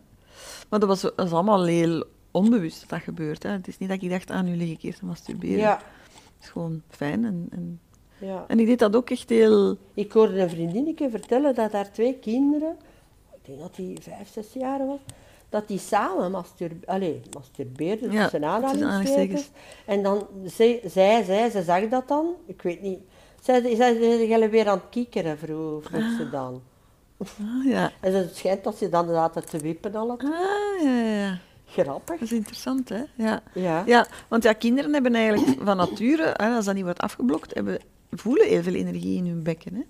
A: Maar dat was, dat is allemaal heel onbewust dat dat gebeurt. Hè. Het is niet dat ik dacht, ah, nu lig ik eerst te masturberen.
B: Ja.
A: Het is gewoon fijn. En, en,
B: ja.
A: en ik deed dat ook echt heel...
B: Ik hoorde een vriendinnetje vertellen dat haar twee kinderen, ik denk dat die vijf, zes jaar was, dat die samen masturbe allee, masturbeerden
A: Ja,
B: tussen
A: tussen
B: aanhalingstekens.
A: aanhalingstekens.
B: En dan zei zij, zij, ze zag dat dan, ik weet niet. Zij zei, zij zei, "Jij bent weer aan het kiekeren, vroeg, vroeg ze dan.
A: Ah, ja.
B: En het schijnt dat ze dan zaten te wippen al.
A: Ah, ja, ja, ja.
B: Grappig.
A: Dat is interessant, hè? Ja.
B: Ja.
A: Ja, want ja, kinderen hebben eigenlijk van nature, hè, als dat niet wordt afgeblokt, hebben, voelen heel veel energie in hun bekken. Hè.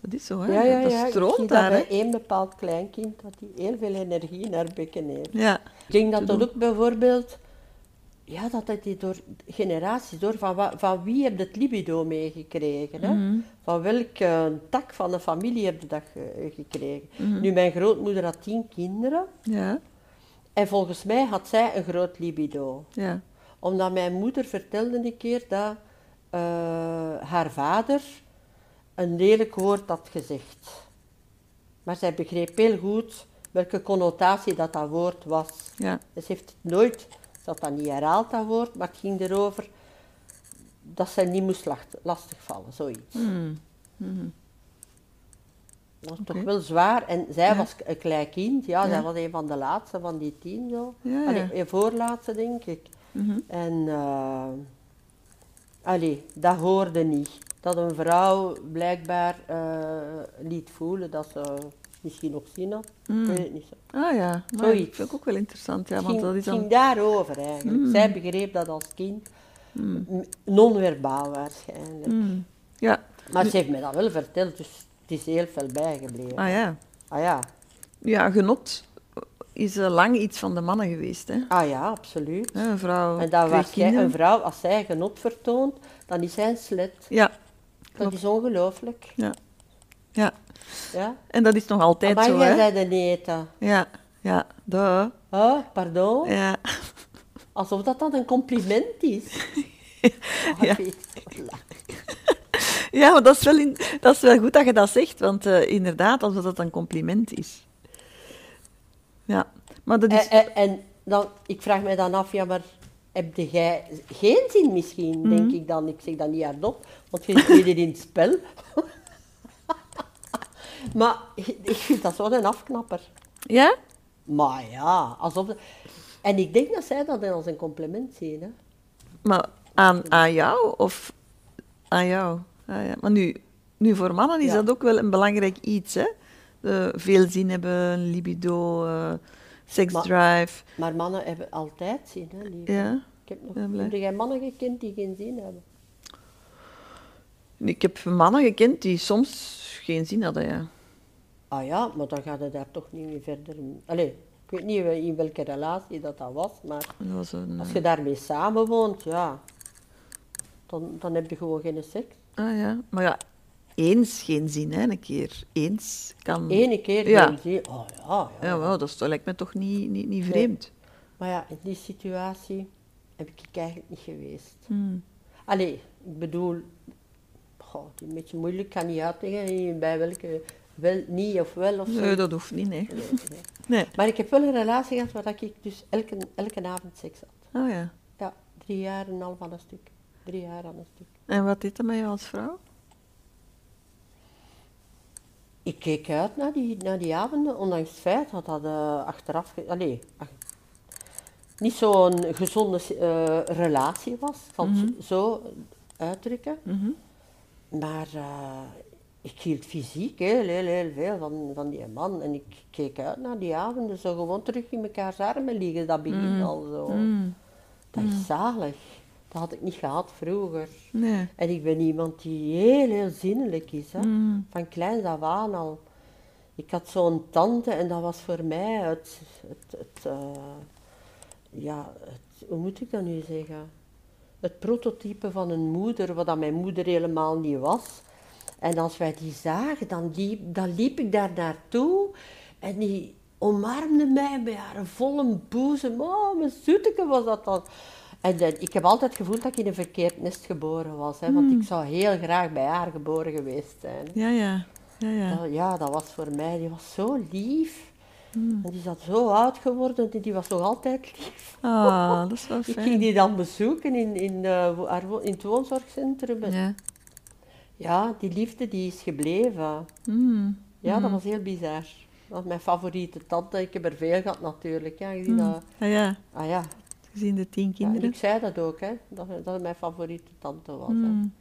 A: Dat is zo, hè?
B: Ja,
A: dat,
B: ja, ja.
A: dat
B: Ik zie
A: stroomt
B: dat
A: daar,
B: bij
A: hè?
B: één bepaald kleinkind, dat die heel veel energie naar bekken heeft.
A: Ja.
B: Ik denk dat dat ook bijvoorbeeld, ja, dat dat die door generaties door, van, wa- van wie heb je het libido meegekregen? Hè?
A: Mhm.
B: Van welke tak van de familie heb je dat ge- gekregen?
A: Mhm.
B: Nu, mijn grootmoeder had tien kinderen
A: ja,
B: en volgens mij had zij een groot libido.
A: ja,
B: Omdat mijn moeder vertelde een keer dat eh, haar vader een lelijk woord had gezegd. Maar zij begreep heel goed welke connotatie dat dat woord was.
A: ja.
B: Dus ze heeft het nooit, ze had dat niet herhaald, dat woord, maar het ging erover dat zij niet moest lacht- lastigvallen, zoiets.
A: Hmm. Mhm.
B: Dat was
A: Oké.
B: toch wel zwaar. En zij
A: Ja.
B: was een klein kind, ja,
A: Ja.
B: zij was een van de laatste van die tien, zo.
A: Ja, ja.
B: Allee, een voorlaatste, denk ik.
A: Mhm.
B: En eh, allee, dat hoorde niet. Dat een vrouw blijkbaar eh, liet voelen dat ze misschien nog zin had.
A: Mm.
B: Ik weet het niet zo.
A: Ah ja, maar
B: Zoiets.
A: dat vind ik ook wel interessant, ja,
B: Het
A: want
B: ging,
A: dat is
B: het ging
A: dan...
B: daarover eigenlijk.
A: Mm.
B: Zij begreep dat als kind.
A: Mm.
B: M- Non-verbaal waarschijnlijk.
A: Mm. Ja,
B: Maar ze heeft me dat wel verteld, dus het is heel veel bijgebleven.
A: ah ja.
B: Ah ja,
A: Ja, genot is eh, lang iets van de mannen geweest, hè.
B: ah, ja absoluut.
A: Hè, Een vrouw,
B: En dat
A: twee
B: was jij,
A: kinderen.
B: een vrouw, als zij genot vertoont, dan is zij een slet.
A: Ja,
B: Dat
A: klopt.
B: is ongelooflijk.
A: Ja. Ja,
B: Ja?
A: en dat is nog altijd
B: Maar
A: zo,
B: jij
A: hè.
B: zei de neta.
A: Ja, ja, duh.
B: Huh? Oh, Pardon?
A: Ja.
B: Alsof dat dan een compliment is. Ah,
A: Ja.
B: ik weet-
A: Ja, maar dat is, wel in- dat is wel goed dat je dat zegt, want eh, inderdaad, alsof dat een compliment is. Ja, maar dat is...
B: En, en- Eh, en dan, ik vraag mij dan af, ja, maar heb jij geen zin misschien,
A: Mhm.
B: denk ik dan. Ik zeg dat niet hardop, want je zit midden in het spel. maar ik vind dat zo'n afknapper.
A: Ja?
B: Maar ja, alsof... dat- En ik denk dat zij dat als een compliment zien. Hè?
A: Maar aan, aan jou of aan jou? Ah, ja. Maar nu, nu, voor mannen is
B: Ja.
A: dat ook wel een belangrijk iets, hè? Eh, veel zin hebben, libido, eh,
B: Maar-
A: seksdrive.
B: Maar mannen hebben altijd zin, hè, lieve.
A: Ja.
B: Ik heb nog...
A: ben blij.
B: Heb jij mannen gekend die geen zin hebben?
A: Ik heb mannen gekend die soms geen zin hadden, ja.
B: Ah ja, maar dan gaat het daar toch niet meer verder. Allee, Ik weet niet in welke relatie dat, dat was, maar
A: Dat was een,
B: als
A: eh,
B: je daarmee samenwoont, ja, dan, dan heb je gewoon geen seks.
A: ah, ja. Maar ja, eens geen zin, hè, een keer. Eens kan...
B: Ene keer
A: Mm. Ja.
B: ja. je, oh ja, ja.
A: Ja, wel, dat is- dat lijkt me toch niet, niet, niet vreemd.
B: Maar ja, in die situatie heb ik eigenlijk niet geweest.
A: Hmm.
B: Allee, ik bedoel, goh, het is een beetje moeilijk, ik kan niet uitleggen bij welke, wel, niet of wel of zo.
A: Nee, dat hoeft niet, nee.
B: Nee, nee.
A: Nee.
B: Maar ik heb wel een relatie gehad waar dat ik dus elke, elke avond seks had.
A: Oh ja.
B: Ja, drie jaar en een half aan een stuk. Drie jaar aan een stuk.
A: En wat deed dat met jou als vrouw?
B: Ik keek uit naar die, naar die avonden, ondanks het feit dat dat eh, achteraf... ge- Allee, ach- niet zo'n gezonde eh, relatie was, ik zal het zo uitdrukken. Maar eh, ik hield fysiek heel, heel, heel veel van, van die man. En ik keek uit naar die avonden, zo gewoon terug in mekaars armen liggen, dat begin al zo. Dat is zalig. Dat had ik niet gehad vroeger.
A: Nee.
B: En ik ben iemand die heel, heel zinnelijk is. Hè? Van kleins af aan al. Ik had zo'n tante en dat was voor mij het... het, het eh, ja, het, hoe moet ik dat nu zeggen? Het prototype van een moeder, wat dat mijn moeder helemaal niet was. En als wij die zagen, dan liep, dan liep ik daar naartoe en die omarmde mij met haar volle boezem. Oh, mijn zoeteke was dat dan. En dan- ik heb altijd gevoeld dat ik in een verkeerd nest geboren was, hè, want ik zou heel graag bij haar geboren geweest zijn.
A: Ja, ja. Ja, ja.
B: Dat- ja, dat was voor mij, die was zo lief.
A: Hmm.
B: En die is dat zo oud geworden en die was nog altijd lief.
A: Ah, dat is wel
B: Ik
A: fijn.
B: ging die dan bezoeken in, in, eh, wo- haar wo- in het woonzorgcentrum. En-
A: Ja.
B: ja, die liefde die is gebleven.
A: Mm.
B: Ja, dat was heel bizar. Dat was mijn favoriete tante. Ik heb er veel gehad natuurlijk. Ja, gezien dat...
A: Ja, ja.
B: Ah ja.
A: Gezien de tien
B: ja,
A: Hmm.
B: en
A: kinderen.
B: ik zei dat ook, hè. Dat, dat het mijn favoriete tante was. hè.
A: Mm.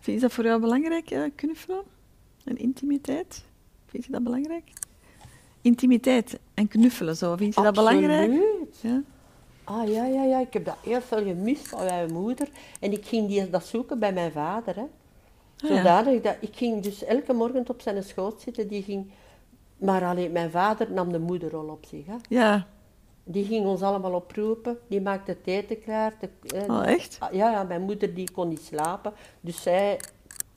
A: Vind- Is dat voor jou belangrijk, eh knuffelen? En intimiteit? Vind je dat belangrijk? Intimiteit en knuffelen, zo. Vind je dat belangrijk?
B: Absoluut.
A: Ja.
B: Ah ja, ja, ja. Ik heb dat heel veel gemist van mijn moeder. En ik ging die, dat zoeken bij mijn vader, hè.
A: Ah, ja.
B: Zodanig dat ik ging dus elke morgen op zijn schoot zitten. Die ging... Maar alleen mijn vader nam de moederrol op zich, hè.
A: Ja.
B: Die ging ons allemaal oproepen. Die maakte het eten klaar. De, eh,
A: Oh, echt?
B: Ah, Ja, ja, mijn moeder die kon niet slapen, dus zij...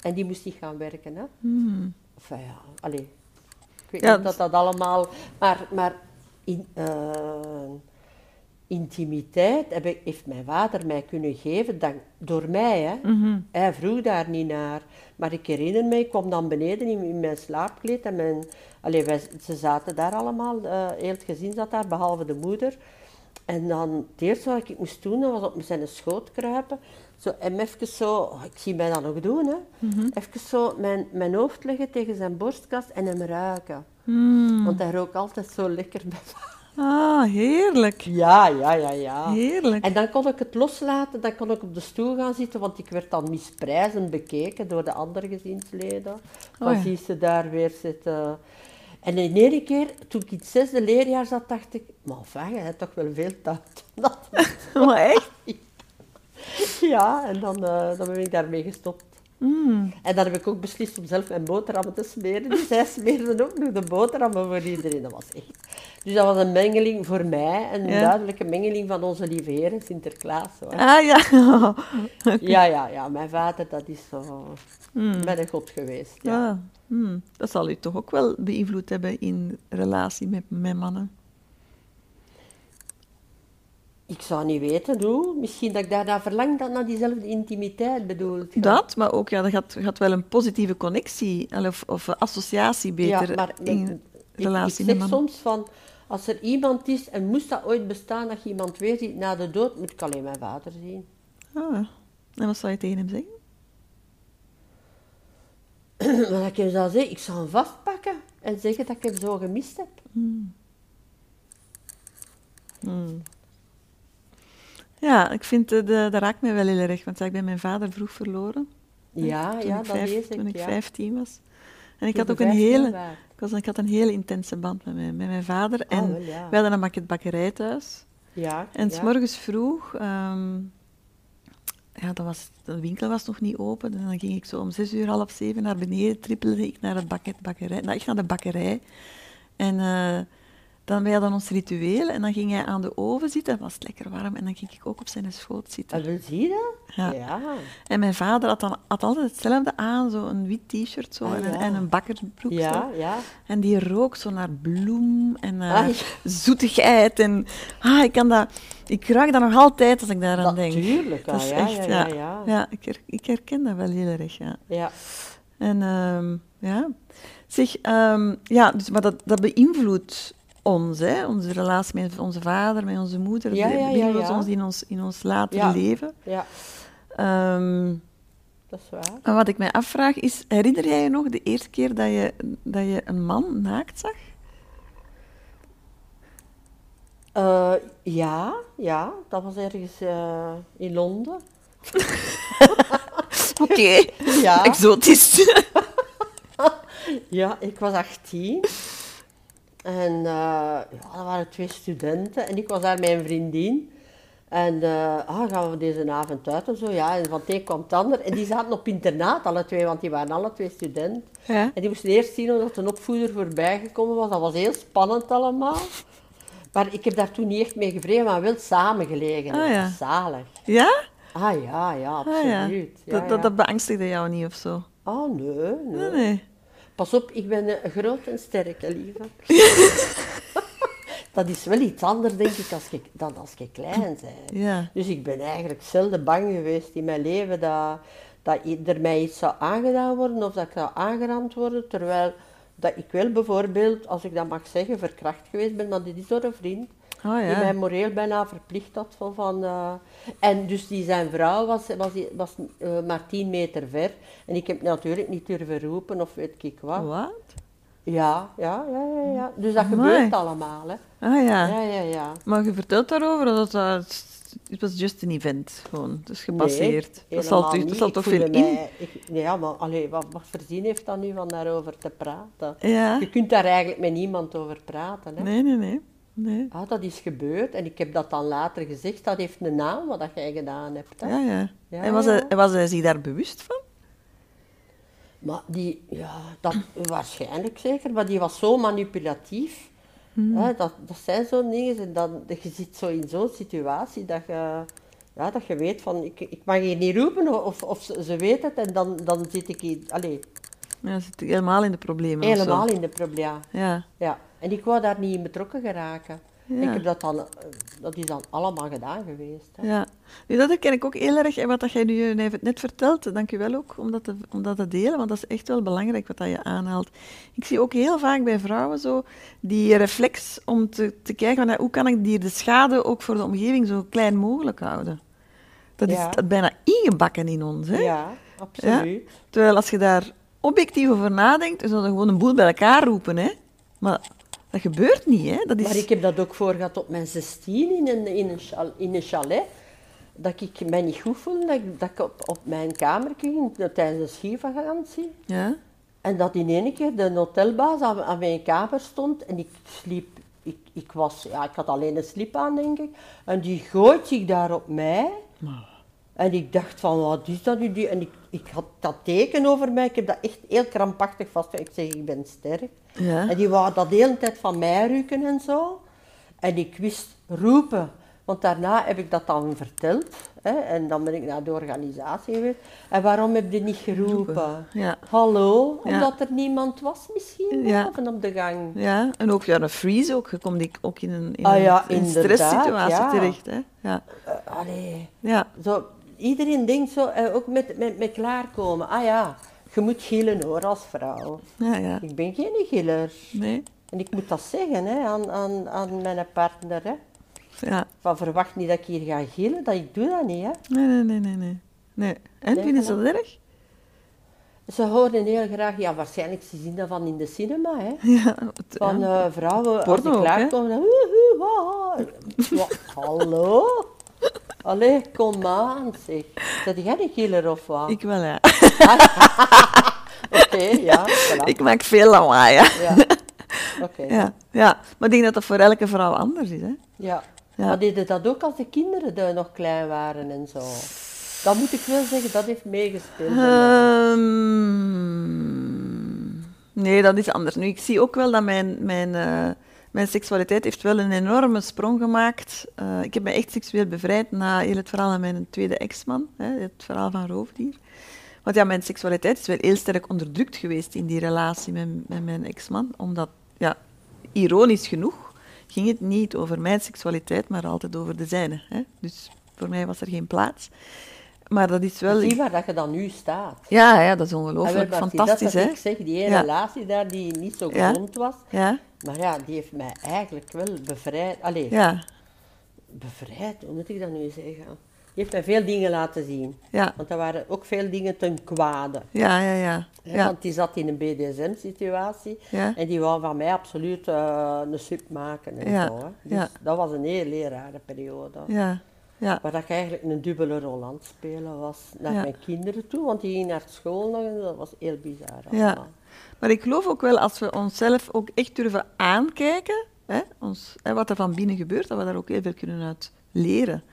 B: En die moest niet gaan werken, hè.
A: Mm.
B: Enfin, ja, allee. Ik weet
A: Ja,
B: niet dat dat allemaal... Maar, maar in, eh, intimiteit heb ik, heeft mijn vader mij kunnen geven dank, door mij, hè.
A: Mhm.
B: Hij vroeg daar niet naar. Maar ik herinner me, ik kwam dan beneden in, in mijn slaapkleed en mijn, allee, wij, ze zaten daar allemaal, eh, heel het gezin zat daar, behalve de moeder. En dan, het eerste wat ik moest doen, dat was op zijn schoot kruipen. Zo, en even zo, oh, ik zie mij dat nog doen, hè. Even zo mijn, mijn hoofd leggen tegen zijn borstkast en hem ruiken.
A: Mm.
B: Want hij rook altijd zo lekker.
A: Ah, heerlijk.
B: Ja, ja, ja, ja.
A: Heerlijk.
B: En dan kon ik het loslaten, dan kon ik op de stoel gaan zitten, want ik werd dan misprijzend bekeken door de andere gezinsleden. Dan
A: Oh ja.
B: zie ze daar weer zitten. En in één keer, toen ik in het zesde leerjaar zat, dacht ik, maar van, je hebt toch wel veel tijd. Dat-
A: Maar echt?
B: ja, en dan, eh, dan ben ik daarmee gestopt.
A: Mm.
B: En dan heb ik ook beslist om zelf mijn boterhammen te smeren. Dus zij smeerden ook nog de boterhammen voor iedereen. Dat was echt... Dus dat was een mengeling voor mij, een
A: Ja.
B: duidelijke mengeling van onze lieve Heer en Sinterklaas. Hoor.
A: Ah, ja.
B: Ja, ja, ja. Mijn vader, dat is zo...
A: Mm.
B: Ben een god geweest, ja.
A: Ja. Hmm. Dat zal u toch ook wel beïnvloed hebben in relatie met mijn mannen.
B: Ik zou niet weten hoe. Misschien dat ik daarna verlang dat naar diezelfde intimiteit bedoelt. je?
A: Dat, maar ook, ja, dat gaat, gaat wel een positieve connectie al of, of eh, associatie beter in
B: ik-
A: relatie
B: ik,
A: met
B: ik zeg
A: mannen.
B: soms van, als er iemand is, en moest dat ooit bestaan, dat je iemand weer ziet na de dood, moet ik alleen mijn vader zien.
A: Ah. En wat zou je tegen hem zeggen?
B: maar dat ik hem zou zeggen, ik zou hem vastpakken en zeggen dat ik hem zo gemist heb.
A: Ja, ik vind, eh, de, dat raakt mij wel heel erg, want ja, ik ben mijn vader vroeg verloren.
B: Ja,
A: toen
B: Ah, ja,
A: ik,
B: dat
A: vijf-
B: lees ik.
A: toen ik
B: ja.
A: 15 was. En ik
B: Toen
A: had ook
B: je
A: een
B: vijftien
A: hele,
B: waart.
A: ik, was, ik had een hele intense band met mijn, met mijn vader.
B: Ah,
A: en
B: wel, ja.
A: we hadden een makketbakkerij thuis.
B: Ja,
A: En
B: ja.
A: s morgens vroeg, ehm, ja, dat was, de winkel was nog niet open. En dan ging ik zo om zes uur, half zeven naar beneden, trippelde ik naar, het bakket, bakkerij, nou, echt naar de bakkerij. En eh, Dan wij hadden ons ritueel en dan ging hij aan de oven zitten. Het was lekker warm en dan ging ik ook op zijn schoot zitten.
B: Ah, wil zie je dat?
A: Ja.
B: Ja.
A: En mijn vader had, dan, had altijd hetzelfde aan, zo een wit t-shirt zo,
B: Ah,
A: en, een,
B: ja.
A: en een bakkersbroek. zo.
B: Ja, ja.
A: En die rook zo naar bloem en eh, naar
B: Ah, ja.
A: zoetigheid. En ah, ik, kan dat, ik ruik dat nog altijd als ik daaraan denk.
B: Natuurlijk, ah,
A: Dat is
B: ja,
A: echt,
B: ja, ja,
A: ja.
B: ja.
A: Ja, ik, her- ik herken dat wel heel erg, ja.
B: Ja.
A: En ehm, ja, zeg, ehm, ja, dus, maar dat, dat beïnvloedt ons, hè? onze relatie met onze vader, met onze moeder.
B: Ja,
A: dat
B: ja, ja,
A: beïnvloedt
B: ja.
A: ons in ons, in ons later
B: Ja.
A: leven.
B: Ja,
A: Ehm,
B: dat is waar.
A: en wat ik mij afvraag is, herinner jij je nog de eerste keer dat je, dat je een man naakt zag?
B: Eh, ja, ja, dat was ergens eh, in Londen.
A: Oké,
B: Ja.
A: exotisch.
B: Ja, ik was 18. En eh, ja, er waren twee studenten en ik was daar met een vriendin. En eh, ah, gaan we deze avond uit of zo? Ja, en van het een kwam het ander. En die zaten op internaat, alle twee, want die waren alle twee student.
A: ja.
B: En die moesten eerst zien omdat een opvoeder voorbij gekomen was. Dat was heel spannend allemaal. Maar ik heb daar toen niet echt mee gevreven, maar wel samengelegen.
A: Ah, ja.
B: Dat was zalig.
A: Ja?
B: Ah ja, ja,
A: Ah, ja.
B: absoluut. Ja,
A: Dat, dat,
B: ja.
A: dat beangstigde jou niet of zo?
B: Ah, nee, nee.
A: Nee, nee.
B: Pas op, ik ben eh, groot en sterk, hè, lieve. dat is wel iets anders, denk ik, als je, dan als je klein bent.
A: Ja.
B: Dus ik ben eigenlijk zelden bang geweest in mijn leven dat, dat i- er mij iets zou aangedaan worden of dat ik zou aangerand worden. Terwijl dat ik wel bijvoorbeeld, als ik dat mag zeggen, verkracht geweest ben, maar dit is door een vriend.
A: Oh
B: Die mij
A: ja.
B: moreel bijna verplicht had van... van eh, en dus die, zijn vrouw was, was, was eh, maar tien meter ver. En ik heb natuurlijk niet durven roepen of weet ik wat.
A: Wat?
B: Ja, ja, ja, ja. ja. Dus dat
A: Amai.
B: gebeurt allemaal, hè.
A: Ah
B: Ja, ja, ja.
A: Maar je vertelt daarover dat dat... Het was just een event, gewoon. Het is gepasseerd.
B: Nee,
A: dat zal,
B: helemaal
A: toch-
B: niet.
A: dat zal
B: Ik
A: toch
B: voelde
A: veel in...
B: mij- ik- nee, ja, maar allee, wat, wat voor zin heeft dat nu van daarover te praten?
A: Ja.
B: Je kunt daar eigenlijk met niemand over praten, hè.
A: Nee, nee, nee. nee.
B: Ah, dat is gebeurd en ik heb dat dan later gezegd. Dat heeft een naam, wat dat jij gedaan hebt, hè.
A: Ja, ja.
B: Ja,
A: en was,
B: ja.
A: Hij, was hij zich daar bewust van?
B: Maar die, ja, dat waarschijnlijk zeker, maar die was zo manipulatief.
A: Hmm.
B: Hè, dat, dat zijn zo'n dingen. En dan, je zit zo in zo'n situatie dat je, ja, dat je weet van, ik, ik mag hier niet roepen of, of ze, ze weet het. En dan, dan zit ik hier, allee,
A: Ja, hij zit helemaal in de problemen of zo.
B: helemaal in de problemen.
A: Ja.
B: Ja. En ik wou daar niet in betrokken geraken.
A: Ja.
B: Ik heb dat, dan, eh, dat is dan allemaal gedaan geweest. Hè.
A: Ja, nu, dat herken ik ook heel erg. En wat dat jij nu net- net vertelt, dank je wel ook om dat, te, om dat te delen, want dat is echt wel belangrijk wat dat je aanhaalt. Ik zie ook heel vaak bij vrouwen zo die reflex om te, te kijken van, ja, hoe kan ik hier de schade ook voor de omgeving zo klein mogelijk houden. Dat is
B: Ja.
A: dat bijna ingebakken in ons. Hè?
B: Ja, absoluut.
A: Terwijl als je daar objectief over nadenkt, dan zou je gewoon een boel bij elkaar roepen. Hè? Maar dat gebeurt niet. Hè? Dat is...
B: Maar ik heb dat ook voor gehad op mijn 16 in een, in een, chal- in een chalet. Dat ik mij niet goed voelde, dat ik, dat ik op, op mijn kamer ging eh, tijdens een skivakantie.
A: Ja?
B: En dat in één keer de hotelbaas aan, aan mijn kamer stond en ik sliep. Ik, ik, was, ja, ik had alleen een slip aan, denk ik. En die gooit zich daar op mij. En ik dacht van, wat is dat nu? Die? En ik, ik had dat teken over mij. Ik heb dat echt heel krampachtig vastgehouden. Ik zeg, ik ben sterk.
A: Ja.
B: En die wou dat de hele tijd van mij rukken en zo. En ik wist roepen. Want daarna heb ik dat dan verteld. Hè? En dan ben ik naar de organisatie geweest. En waarom heb je niet geroepen?
A: Ja.
B: Hallo?
A: Ja.
B: Omdat er niemand was misschien
A: Ja.
B: boven op de gang.
A: Ja, en ook ja, een freeze ook. Je komt ik- ook in een, in
B: Ah
A: een-
B: ja,
A: in een
B: inderdaad,
A: stresssituatie
B: ja.
A: terecht. Hè? Ja.
B: Eh, allee.
A: Ja.
B: Zo, iedereen denkt zo, eh, ook met, met, met klaarkomen. Ah ja, je moet gillen hoor als vrouw.
A: ja, ja.
B: Ik ben geen giller.
A: Nee.
B: En ik moet dat zeggen hè, aan, aan, aan mijn partner. Hè.
A: Ja.
B: Van verwacht niet dat ik hier ga gillen, dat ik doe dat niet. Hè.
A: Nee, nee, nee, nee, nee. nee. En
B: Nee,
A: vinden ze dat erg?
B: Ze horen heel graag, ja waarschijnlijk ze zien dat van in de cinema, hè.
A: Ja. het-
B: Van
A: ja.
B: eh, vrouwen, als
A: Porno
B: ze
A: ook, hè?
B: klaarkomen, dan woe, woe, wa. Wa, hallo? Allee, kom aan zeg. Zet jij een killer of wat?
A: Ik wel, ja.
B: Oké, ja, voilà.
A: Ik maak veel lawaai, ja.
B: Ja, oké.
A: Ja. ja. Maar ik denk dat dat voor elke vrouw anders is, hè.
B: Ja.
A: Ja.
B: Maar deden dat ook als de kinderen daar nog klein waren en zo? Dat moet ik wel zeggen, dat heeft meegespeeld. bij mij.
A: Ehm, nee, dat is anders. Nu, ik zie ook wel dat mijn, mijn, eh, mijn seksualiteit heeft wel een enorme sprong gemaakt. Eh, ik heb me echt seksueel bevrijd na heel het verhaal aan mijn tweede ex-man, hè, het verhaal van Roofdier. Want ja, mijn seksualiteit is wel heel sterk onderdrukt geweest in die relatie met, met mijn ex-man. Omdat, ja, ironisch genoeg, ging het niet over mijn seksualiteit, maar altijd over de zijne. Hè. Dus voor mij was er geen plaats. Maar dat is wel...
B: Zie waar dat je dan nu staat.
A: Ja, ja, dat is
B: Ah, wel,
A: ongelooflijk.
B: maar zie,
A: Fantastisch,
B: dat is
A: hè?
B: wat Ik zeg, die ene
A: Ja.
B: relatie daar die niet zo
A: Ja.
B: gezond was.
A: Ja,
B: Maar ja, die heeft mij eigenlijk wel bevrijd. Allee,
A: ja,
B: bevrijd, hoe moet ik dat nu zeggen? Die heeft mij veel dingen laten zien.
A: ja,
B: Want er waren ook veel dingen ten kwade.
A: ja, ja, ja.
B: hè,
A: Ja,
B: Want die zat in een BDSM-situatie
A: ja,
B: en die wou van mij absoluut eh, een sub maken en
A: Ja,
B: zo. Hè. Dus
A: ja.
B: dat was een heel rare periode.
A: ja, ja,
B: Waar dat ik eigenlijk een dubbele rol aan het spelen was naar
A: Ja.
B: mijn kinderen toe, want die gingen naar school nog en dat was heel bizar.
A: Ja.
B: allemaal.
A: Maar ik geloof ook wel als we onszelf ook echt durven aankijken, hè, ons, hè, wat er van binnen gebeurt, dat we daar ook heel veel kunnen uit leren.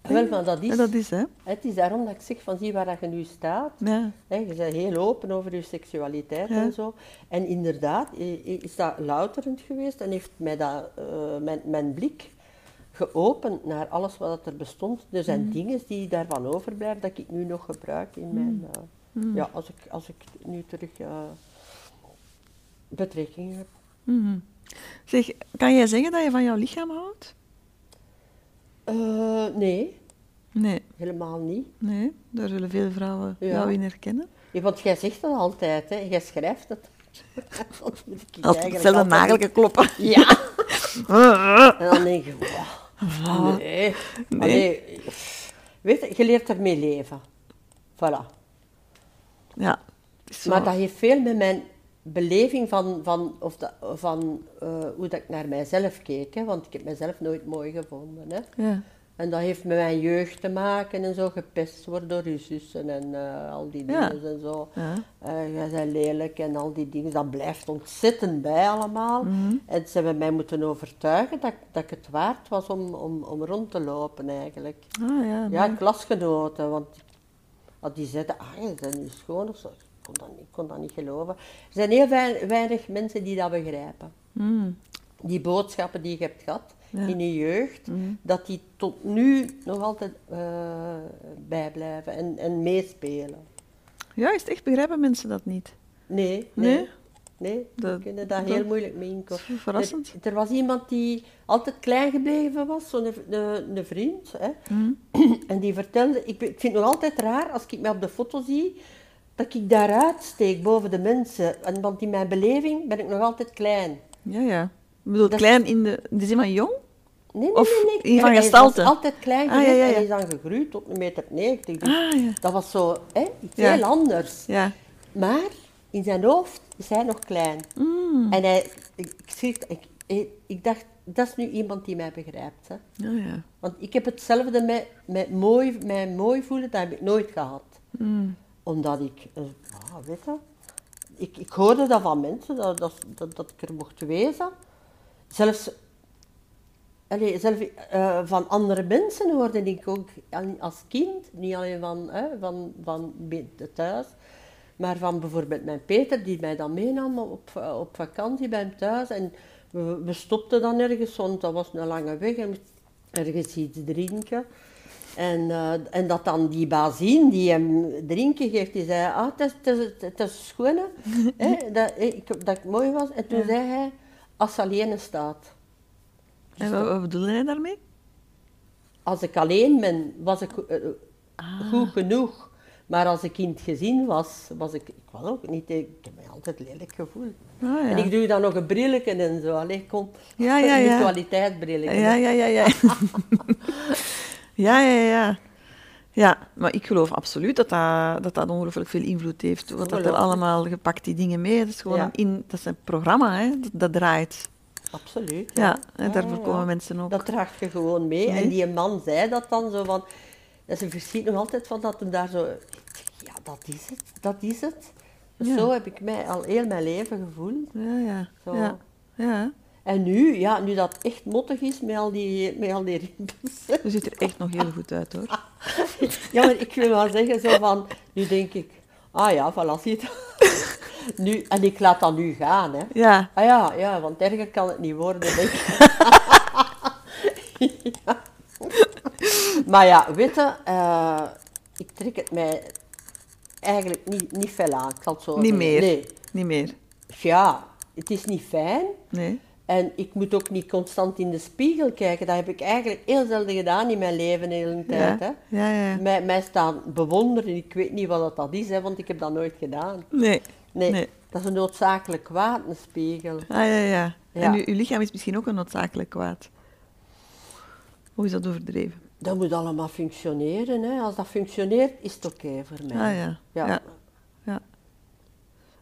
B: Wel, maar dat is,
A: Ja, dat is, hè?
B: Het is daarom dat ik zeg van zie waar dat je nu staat.
A: Ja,
B: Hè, je bent heel open over je seksualiteit
A: Ja.
B: en zo. En inderdaad i- i- is dat louterend geweest en heeft mij dat, eh, mijn, mijn blik geopend naar alles wat dat er bestond. Er zijn dingen die daarvan overblijven dat ik nu nog gebruik in mijn... eh, Ja, als ik, als ik nu terug eh betrekking heb.
A: mhm. Zeg, kan jij zeggen dat je van jouw lichaam houdt?
B: Eh, nee,
A: Nee,
B: helemaal niet.
A: nee, daar zullen veel vrouwen
B: Ja.
A: jou in herkennen.
B: Ja, want jij zegt dat altijd, hè. Jij schrijft het. Dat moet ik
A: Als
B: eigenlijk
A: zelfde
B: altijd-
A: nagelken kloppen.
B: Ja. En dan denk je, wow, nee.
A: Nee.
B: Allee, weet je, je leert ermee leven. Voilà.
A: Ja, het is zo.
B: Maar dat heeft veel met mijn beleving van, van, of dat- van eh, hoe dat ik naar mijzelf keek. Hè? Want ik heb mezelf nooit mooi gevonden. Hè?
A: Ja,
B: En dat heeft met mijn jeugd te maken en zo. Gepest worden door je zussen en eh, al die
A: Ja.
B: dingen en zo.
A: ja,
B: Eh, jij bent lelijk en al die dingen, dat blijft ontzettend bij allemaal.
A: Mhm.
B: En ze hebben mij moeten overtuigen dat, ik- dat ik het waard was om, om, om rond te lopen eigenlijk.
A: ah, ja,
B: Ja,
A: mooi.
B: klasgenoten, want want die zeiden, ah, je bent nu schoon of zo. Ik kon dat niet, ik kon dat niet geloven. Er zijn heel wei- weinig mensen die dat begrijpen.
A: Mm,
B: Die boodschappen die je hebt gehad
A: Ja.
B: in je jeugd,
A: mhm.
B: dat die tot nu nog altijd eh, bijblijven en, en meespelen.
A: Juist, echt begrijpen mensen dat niet.
B: Nee,
A: Nee?
B: nee. Nee, we
A: Dat-
B: kunnen daar
A: dat-
B: heel moeilijk mee
A: Dat is
B: inkomen.
A: verrassend.
B: Er, er was iemand die altijd klein gebleven was, zo'n een, een, een vriend. Hè,
A: Mhm.
B: en die vertelde, ik, ben- ik vind het nog altijd raar als ik mij op de foto zie, dat ik daaruit steek boven de mensen. En, want in mijn beleving ben ik nog altijd klein.
A: Ja, ja. Ik bedoel,
B: Dat-
A: klein in de, in de zin van jong?
B: Nee, nee,
A: Of
B: nee. nee.
A: in van
B: Hij- hij
A: gestalte.
B: was altijd klein
A: Ah, ja,
B: geweest
A: ja,
B: en
A: ja.
B: hij is dan gegroeid tot 1,90 meter. 90. Dus
A: Ah, ja.
B: Dat was zo hè, iets
A: Ja.
B: heel anders.
A: Ja.
B: Maar in zijn hoofd is hij nog klein.
A: Mm.
B: En hij, ik, ik, schrik- ik, ik, ik dacht, dat is nu iemand die mij begrijpt. Hè.
A: Ja, Nou ja.
B: Want ik heb hetzelfde met, met mooi, mij mooi voelen, dat heb ik nooit gehad.
A: Mm.
B: Omdat ik, eh, ja, weet je, ik, ik hoorde dat van mensen, dat, dat, dat, dat ik er mocht wezen. Zelfs, allee, zelf, eh, van andere mensen hoorde ik ook aan- als kind, niet alleen van, hè, van, van binnen- thuis, maar van bijvoorbeeld mijn Peter, die mij dan meenam op, eh, op vakantie bij hem thuis. En we, we stopten dan ergens, want dat was een lange weg, en we ergens iets drinken. En, eh, en dat dan die bazin die hem drinken geeft, die zei, ah, het is, het is, het is schoon, hè. hè, dat, ik, dat ik mooi was. En toen
A: Ja.
B: zei hij, als ze alleen staat.
A: En wat, wat bedoelde hij daarmee?
B: Als ik alleen ben, was ik eh,
A: Ah.
B: goed genoeg. Maar als ik in het gezin was, was ik, ik was ook niet, ik heb mij altijd lelijk gevoeld.
A: Ah,
B: En ik
A: ja.
B: doe dan nog een brilletje en zo. Allee, kom.
A: Ja, ja, ja.
B: Virtualiteitsbrilletje.
A: Ja, ja, ja, ja. ja, ja, ja. Ja, maar ik geloof absoluut dat dat, dat, dat ongelooflijk veel invloed heeft. Wat dat er
B: Ongelooflijk.
A: allemaal gepakt, die dingen mee. Dat is gewoon
B: Ja.
A: een in, dat is een programma, hè. Dat, dat draait.
B: Absoluut. Ah,
A: Ja, en daarvoor
B: Ja, ja.
A: komen mensen ook.
B: Dat draagt je gewoon mee.
A: Nee.
B: En die man zei dat dan zo van... Dat ze verschiet nog altijd van dat hem daar zo... Ja, dat is het. Dat is het. Dus
A: Ja.
B: Zo heb ik mij al heel mijn leven gevoeld.
A: Ja, ja.
B: Zo.
A: Ja, ja.
B: En nu, ja, nu dat echt mottig is met al die, met al die rimpels.
A: Je ziet er echt nog heel goed uit, hoor.
B: Ja, maar ik wil wel zeggen zo van... Nu denk ik... Ah ja, voilà, zie je het. Nu, en ik laat dat nu gaan, hè.
A: Ja.
B: Ah ja, ja, want erger kan het niet worden, denk ik. Ja. Maar ja, weet je, eh, ik trek het mij eigenlijk niet, niet fel aan. Ik zal het zo
A: Niet
B: zeggen.
A: meer.
B: Nee.
A: Niet meer.
B: Ja, het is niet fijn.
A: Nee.
B: En ik moet ook niet constant in de spiegel kijken. Dat heb ik eigenlijk heel zelden gedaan in mijn leven, de hele
A: Ja.
B: tijd. Hè.
A: Ja, ja, ja.
B: Mij, mij staan bewonderen, ik weet niet wat dat, dat is, hè, want ik heb dat nooit gedaan.
A: Nee.
B: Nee,
A: Nee.
B: dat is een noodzakelijk kwaad, een spiegel.
A: Ah, ja, ja. En
B: Ja.
A: uw, uw lichaam is misschien ook een noodzakelijk kwaad. Hoe is dat overdreven?
B: Dat moet allemaal functioneren. Hè. Als dat functioneert, is het oké voor mij.
A: Ah, ja.
B: Ja.
A: Ja. Ja.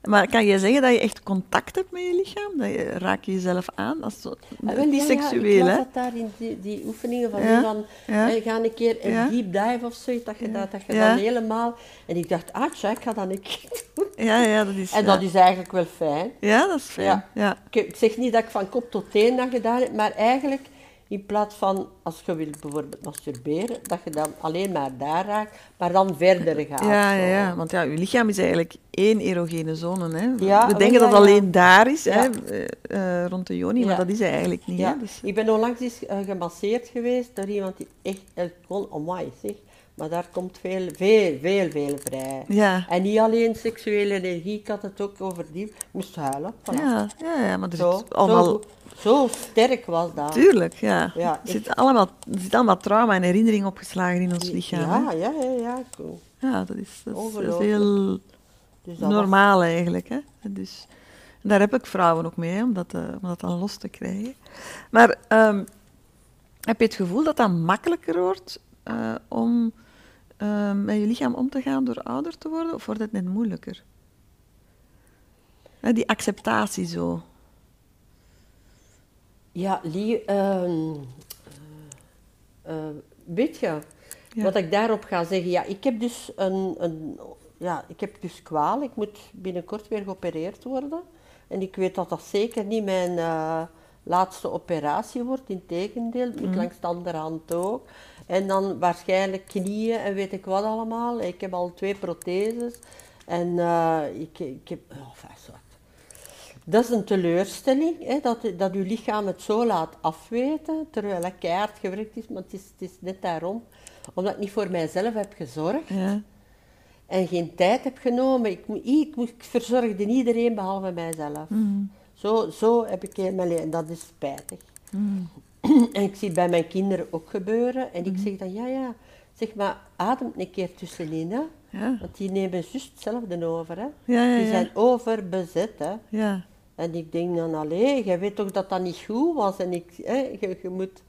A: Maar kan je zeggen dat je echt contact hebt met je lichaam? Dat je, raak je jezelf aan? Als zo,
B: Ah,
A: het
B: wel,
A: is
B: ja, ja,
A: seksueel,
B: ik las
A: hè?
B: dat daar in die, die oefeningen van,
A: Ja,
B: nu van
A: ja.
B: eh, ga een keer een
A: Ja.
B: deep dive of zoiets, dat je, dat, dat je
A: Ja.
B: dan helemaal... En ik dacht, ah tja, ik ga dat een keer doen.
A: Ja, ja, dat is...
B: En
A: ja.
B: dat is eigenlijk wel fijn.
A: Ja, dat is fijn. Ja.
B: Ja.
A: Ja.
B: Ik, ik zeg niet dat ik van kop tot teen dat gedaan heb, maar eigenlijk in plaats van, als je wilt bijvoorbeeld masturberen, dat je dan alleen maar daar raakt, maar dan verder gaat.
A: Ja, ja,
B: zo.
A: want ja, uw lichaam is eigenlijk één erogene zone. Hè.
B: Ja,
A: We
B: wel,
A: denken dat
B: ja, ja.
A: alleen daar is, hè,
B: Ja.
A: eh, eh, rond de joni, maar
B: Ja.
A: dat is hij eigenlijk niet.
B: Ja,
A: Hè, dus,
B: ik ben onlangs eens eh, gemasseerd geweest door iemand die echt el kon amai zeg. Maar daar komt veel, veel, veel, veel vrij.
A: Ja.
B: En niet alleen seksuele energie, ik had het ook over die, ik moest huilen. Voilà.
A: ja, ja, ja, maar er
B: zo,
A: zit allemaal...
B: zo, goed. zo sterk was dat.
A: Tuurlijk, ja.
B: Ja,
A: er, zit allemaal, er zit allemaal trauma en herinnering opgeslagen in ons lichaam. Ja,
B: Ja, ja, ja, ja. cool.
A: ja dat is, dat is- dat is
B: Ongelooflijk.
A: heel
B: Dus dat was-
A: normaal eigenlijk. Hè? En Dus, en daar heb ik vrouwen ook mee, hè, om, dat, eh, om dat dan los te krijgen. Maar ehm, heb je het gevoel dat dat makkelijker wordt eh, om eh, met je lichaam om te gaan door ouder te worden? Of wordt het net moeilijker? Hè, die acceptatie zo.
B: Ja, Lie, ehm, eh, eh, weet je,
A: Ja.
B: wat ik daarop ga zeggen? Ja, ik heb dus een, een ja, ik heb dus kwaal. Ik moet binnenkort weer geopereerd worden. En ik weet dat dat zeker niet mijn eh, laatste operatie wordt, integendeel. Het moet langs de andere hand ook. En dan waarschijnlijk knieën en weet ik wat allemaal. Ik heb al twee protheses. En eh, ik, ik heb... Oh, enfin, zwart. Dat is een teleurstelling, hè, dat, dat uw lichaam het zo laat afweten, terwijl het keihard gewerkt is, maar het is, het is net daarom. Omdat ik niet voor mijzelf heb gezorgd
A: Ja,
B: en geen tijd heb genomen. Ik, mo- ik, mo- ik verzorgde iedereen behalve mijzelf.
A: Mm.
B: Zo, zo heb ik heel mijn leven, en dat is spijtig.
A: Mm.
B: En ik zie het bij mijn kinderen ook gebeuren. En ik zeg dan, ja, ja, zeg maar, adem een keer tussenin, hè.
A: ja,
B: Want die nemen juist hetzelfde over, hè.
A: ja, ja.
B: Die
A: ja.
B: zijn overbezet, hè.
A: ja.
B: En ik denk dan, allee, jij weet toch dat dat niet goed was? En ik, hè, je, je moet...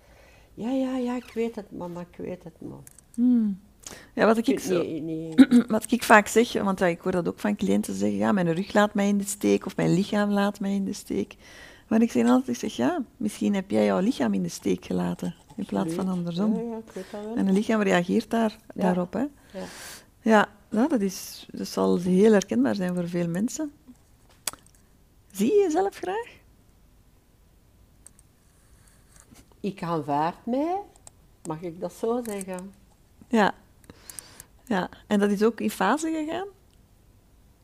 B: Ja, ja, ja, ik weet het, mama, ik weet het, mama.
A: Hmm. Ja, wat ik,
B: Ik,
A: zo-
B: nee, nee.
A: wat ik vaak zeg, want ja, ik hoor dat ook van cliënten zeggen, ja, mijn rug laat mij in de steek of mijn lichaam laat mij in de steek. Maar ik zeg altijd, ik zeg, ja, misschien heb jij jouw lichaam in de steek gelaten, in plaats van andersom.
B: Ja, ja, ik weet dat wel.
A: En het lichaam reageert daar, daarop. Hè.
B: Ja.
A: Ja, ja, dat, is, dat zal heel herkenbaar zijn voor veel mensen. Zie je jezelf graag?
B: Ik aanvaard mij, mag ik dat zo zeggen?
A: Ja. ja. En dat is ook in fase gegaan?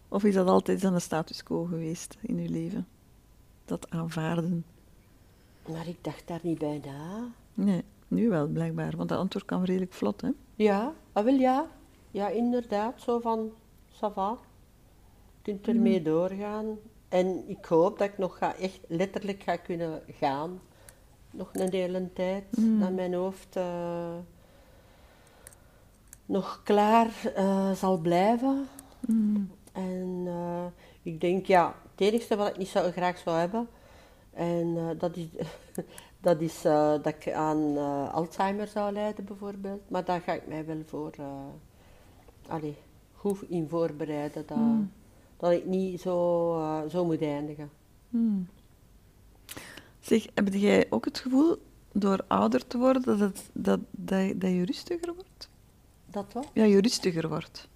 A: Of is dat altijd dan een status quo geweest in uw leven? Dat aanvaarden?
B: Maar ik dacht daar niet bij na.
A: Nee, nu wel blijkbaar, want dat antwoord kan redelijk vlot, hè?
B: Ja, ah, wel ja. Ja, inderdaad, zo van, ça va. Je kunt ermee doorgaan. En ik hoop dat ik nog ga, echt letterlijk ga kunnen gaan. Nog een hele tijd. Dat mijn hoofd eh, nog klaar eh, zal blijven. En eh, ik denk, ja, het enige wat ik niet zou, graag zou hebben, en eh, dat is, dat, is eh, dat ik aan eh, Alzheimer zou lijden bijvoorbeeld. Maar daar ga ik mij wel voor, eh, allee, goed in voorbereiden, dat, dat ik niet zo, eh, zo moet eindigen.
A: Mm. Zeg, heb jij ook het gevoel door ouder te worden dat, het, dat, dat, dat je rustiger wordt?
B: Dat wat?
A: Ja, je rustiger wordt.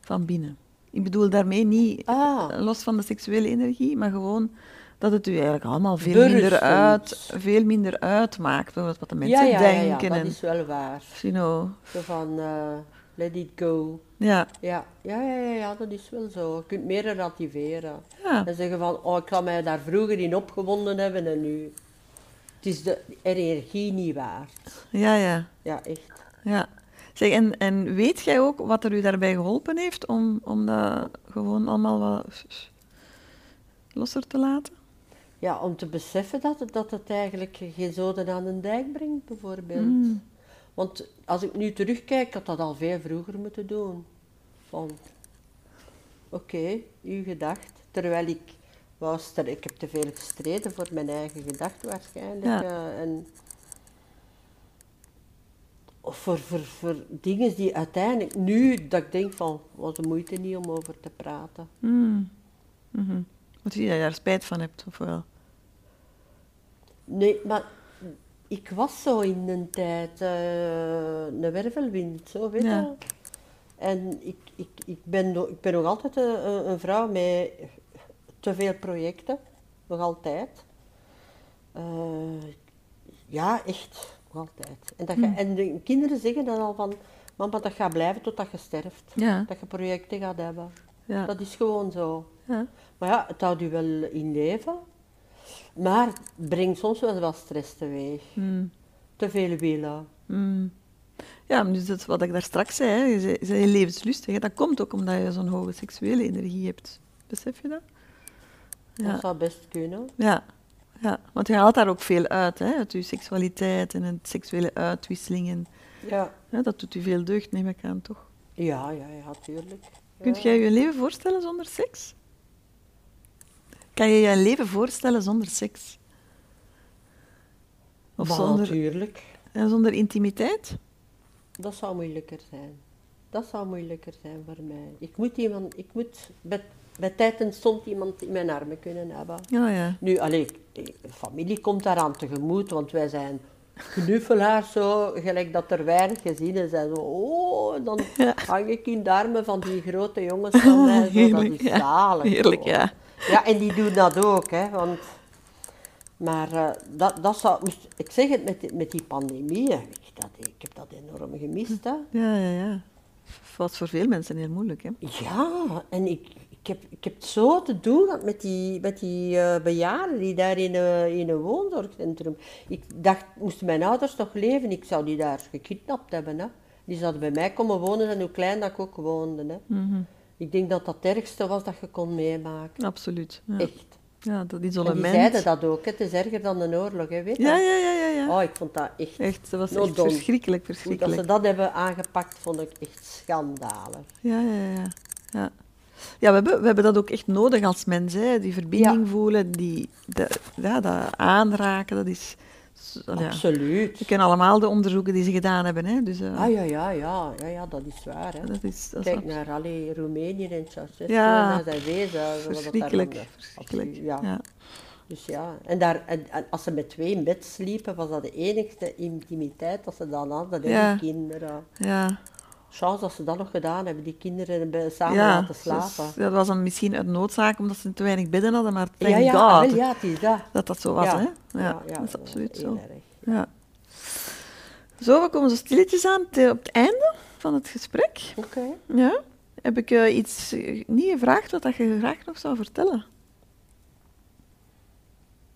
A: Van binnen. Ik bedoel daarmee niet
B: Ah,
A: eh, los van de seksuele energie, maar gewoon dat het u eigenlijk allemaal veel
B: Berustend.
A: minder, uit, veel minder uitmaakt. Bijvoorbeeld wat de mensen
B: ja, ja, ja, ja,
A: denken.
B: dat
A: en,
B: is wel waar.
A: you know,
B: Zo van, eh, Let it go.
A: Ja.
B: Ja, ja, ja, ja, ja, dat is wel zo. Je kunt meer relativeren.
A: Ja.
B: En zeggen van, oh, ik kan mij daar vroeger in opgewonden hebben en nu... Het is de energie niet waard.
A: Ja, ja.
B: Ja, echt.
A: ja. Zeg, en, en weet jij ook wat er u daarbij geholpen heeft om, om dat gewoon allemaal wat losser te laten?
B: Ja, om te beseffen dat het, dat het eigenlijk geen zoden aan de dijk brengt, bijvoorbeeld.
A: Mm.
B: Want als ik nu terugkijk, ik had dat al veel vroeger moeten doen. Van, oké, uw gedacht. Terwijl ik wou stre- ik heb te veel gestreden voor mijn eigen gedacht waarschijnlijk.
A: Ja.
B: eh, en of voor, voor, voor dingen die uiteindelijk nu, dat ik denk van, was de moeite niet om over te praten.
A: Mm. Mhm. Moet je dat je daar spijt van hebt, of wel?
B: Nee, maar ik was zo in een tijd eh, een wervelwind, zo weet je.
A: Ja.
B: wel. En ik, ik, ik, ben, no- ik ben nog altijd een, een- een vrouw met te veel projecten, nog altijd. Eh, ja, echt, nog altijd. En, dat je, en de kinderen zeggen dan al van, mama, dat gaat blijven totdat je sterft.
A: Ja.
B: Dat je projecten gaat hebben.
A: Ja.
B: Dat is gewoon zo.
A: Ja.
B: Maar ja, het houdt u wel in leven. Maar het brengt soms wel wat stress teweeg.
A: Mm.
B: Te veel willen.
A: Mm. Ja, dus dat is wat ik daar straks zei, hè. je ze- je bent heel levenslustig. Hè. Dat komt ook omdat je zo'n hoge seksuele energie hebt. Besef je dat?
B: Dat
A: Ja,
B: zou best kunnen.
A: ja. ja. want je haalt daar ook veel uit, hè, uit je seksualiteit en het seksuele uitwisselingen.
B: Ja.
A: Hè, dat doet u veel deugd, neem ik aan, toch?
B: Ja, ja, ja, tuurlijk. Ja.
A: Kunt jij je leven voorstellen zonder seks? Kan je je leven voorstellen zonder seks? Of
B: Maar
A: zonder,
B: Natuurlijk.
A: en zonder intimiteit?
B: Dat zou moeilijker zijn. Dat zou moeilijker zijn voor mij. Ik moet, iemand, ik moet bij, bij tijd en stond iemand in mijn armen kunnen hebben.
A: Ja, ja.
B: Nu, allee, ik- de familie komt daaraan tegemoet, want wij zijn knuffelaars zo, gelijk dat er weinig gezinnen zijn. Zo, oh, dan
A: Ja.
B: hang ik in de armen van die grote jongens van mij. Zo, dat is
A: ja.
B: zalig.
A: Heerlijk,
B: hoor.
A: ja.
B: Ja, en die doen dat ook, hè, want... Maar eh, dat, dat zou... moest- Ik zeg het met, die- met die pandemie, hè, ik, dat, ik heb dat enorm gemist, hè.
A: Ja, ja, ja. Wat voor veel mensen heel moeilijk, hè?
B: Ja, en ik, ik, heb, ik heb zo te doen gehad met die, met die eh, bejaarden die daar in, eh, in een woonzorgcentrum. Ik dacht, moesten mijn ouders nog leven, ik zou die daar gekidnapt hebben. Hè. Die zouden bij mij komen wonen en hoe klein dat ik ook woonde. Hè.
A: Mhm,
B: Ik denk dat dat het ergste was dat je kon meemaken.
A: Absoluut. Ja.
B: Echt.
A: ja, dat
B: En
A: isolement.
B: die zeiden dat ook, hè. het is erger dan een oorlog, hè, weet je?
A: Ja, ja, ja, ja. ja.
B: Oh, ik vond dat echt...
A: Echt, dat was
B: Not
A: echt
B: done.
A: verschrikkelijk,
B: Hoe dat ze
A: verschrikkelijk.
B: dat hebben aangepakt, vond ik echt schandalig.
A: Ja, ja, ja, ja. ja. Ja, we hebben, we hebben dat ook echt nodig als mens, hè. Die verbinding voelen, die, dat- ja, dat aanraken, dat is... s- Ja.
B: Absoluut.
A: We kennen allemaal de onderzoeken die ze gedaan hebben, hè. Dus, eh,
B: Ah ja, ja, ja, ja, ja, dat is waar. Hè.
A: dat is... Dat is
B: Kijk naar eh, alle Roemenië en Ceausescu
A: Ja,
B: en zijn wezen.
A: verschrikkelijk, verschrikkelijk.
B: Ja.
A: Ja.
B: Dus ja, en, daar, en, en als ze met twee in bed sliepen, was dat de enigste intimiteit dat ze dan hadden, hè,
A: Ja.
B: die kinderen.
A: ja.
B: Chance dat ze dat nog gedaan hebben, die kinderen bij- samen
A: Ja,
B: laten slapen.
A: dus dat was dan misschien uit noodzaak, omdat ze te weinig bedden hadden, maar thank
B: ja, ja,
A: God
B: wel, ja, het is dat.
A: dat dat zo was,
B: Ja.
A: hè. Ja, dat is absoluut
B: heel
A: zo.
B: erg.
A: Ja. Zo, we komen zo stilletjes aan te- op het einde van het gesprek.
B: Oké.
A: Ja. Heb ik eh, iets eh, niet gevraagd wat dat je graag nog zou vertellen?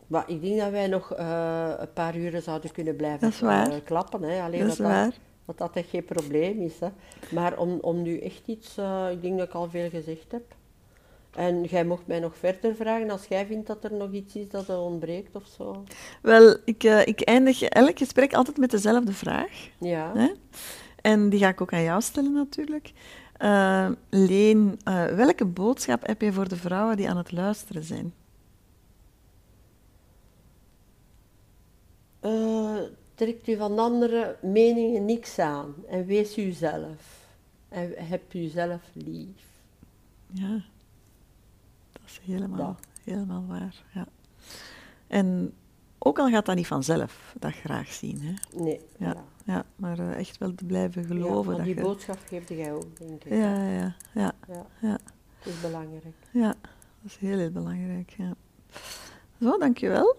B: Maar ik denk dat wij nog eh, een paar uren zouden kunnen blijven
A: Dat is waar.
B: eh, klappen. Hè. Alleen
A: dat is
B: dat dat-
A: waar.
B: Dat dat echt geen probleem is. Hè. Maar om, om nu echt iets, eh, ik denk dat ik al veel gezegd heb. En jij mocht mij nog verder vragen als jij vindt dat er nog iets is dat er ontbreekt of zo.
A: Wel, ik, eh, ik eindig elk gesprek altijd met dezelfde vraag.
B: Ja,
A: Hè? En die ga ik ook aan jou stellen natuurlijk. Eh, Leen, eh, welke boodschap heb je voor de vrouwen die aan het luisteren zijn?
B: Eh, trekt u van andere meningen niks aan en wees uzelf. En heb uzelf lief.
A: Ja, dat is helemaal,
B: Ja.
A: helemaal waar. Ja. En ook al gaat dat niet vanzelf, dat graag zien. Hè?
B: Nee,
A: Ja, Ja, maar eh, echt wel te blijven geloven.
B: want
A: dat
B: die
A: je-
B: boodschap geeft jij ook, denk ik.
A: ja, ja, ja, ja,
B: Ja.
A: Ja.
B: Dat is belangrijk.
A: ja, dat is heel, heel belangrijk. Ja. Zo, dankjewel.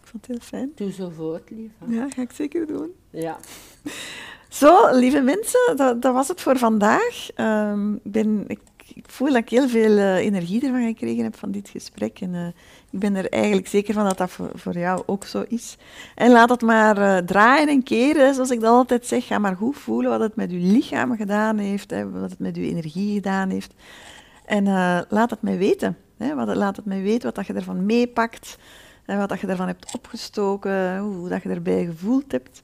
A: Ik vond het heel fijn.
B: Doe zo voort, lief. hè.
A: Ja, ga ik zeker doen.
B: Ja.
A: Zo, lieve mensen, dat, dat was het voor vandaag. Ehm, ik ben, ik, ik voel dat ik heel veel eh, energie ervan gekregen heb van dit gesprek. En, eh, ik ben er eigenlijk zeker van dat dat voor, voor jou ook zo is. En laat het maar eh, draaien en keren, zoals ik dat altijd zeg. Ga maar goed voelen wat het met je lichaam gedaan heeft, hè, wat het met je energie gedaan heeft. En eh, laat het mij weten. Hè, wat, laat het mij weten wat dat je ervan meepakt. En wat dat je ervan hebt opgestoken. Hoe, hoe dat je erbij gevoeld hebt.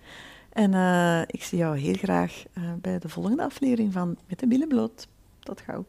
A: En eh, ik zie jou heel graag eh, bij de volgende aflevering van Met de Billen Bloot. Tot gauw.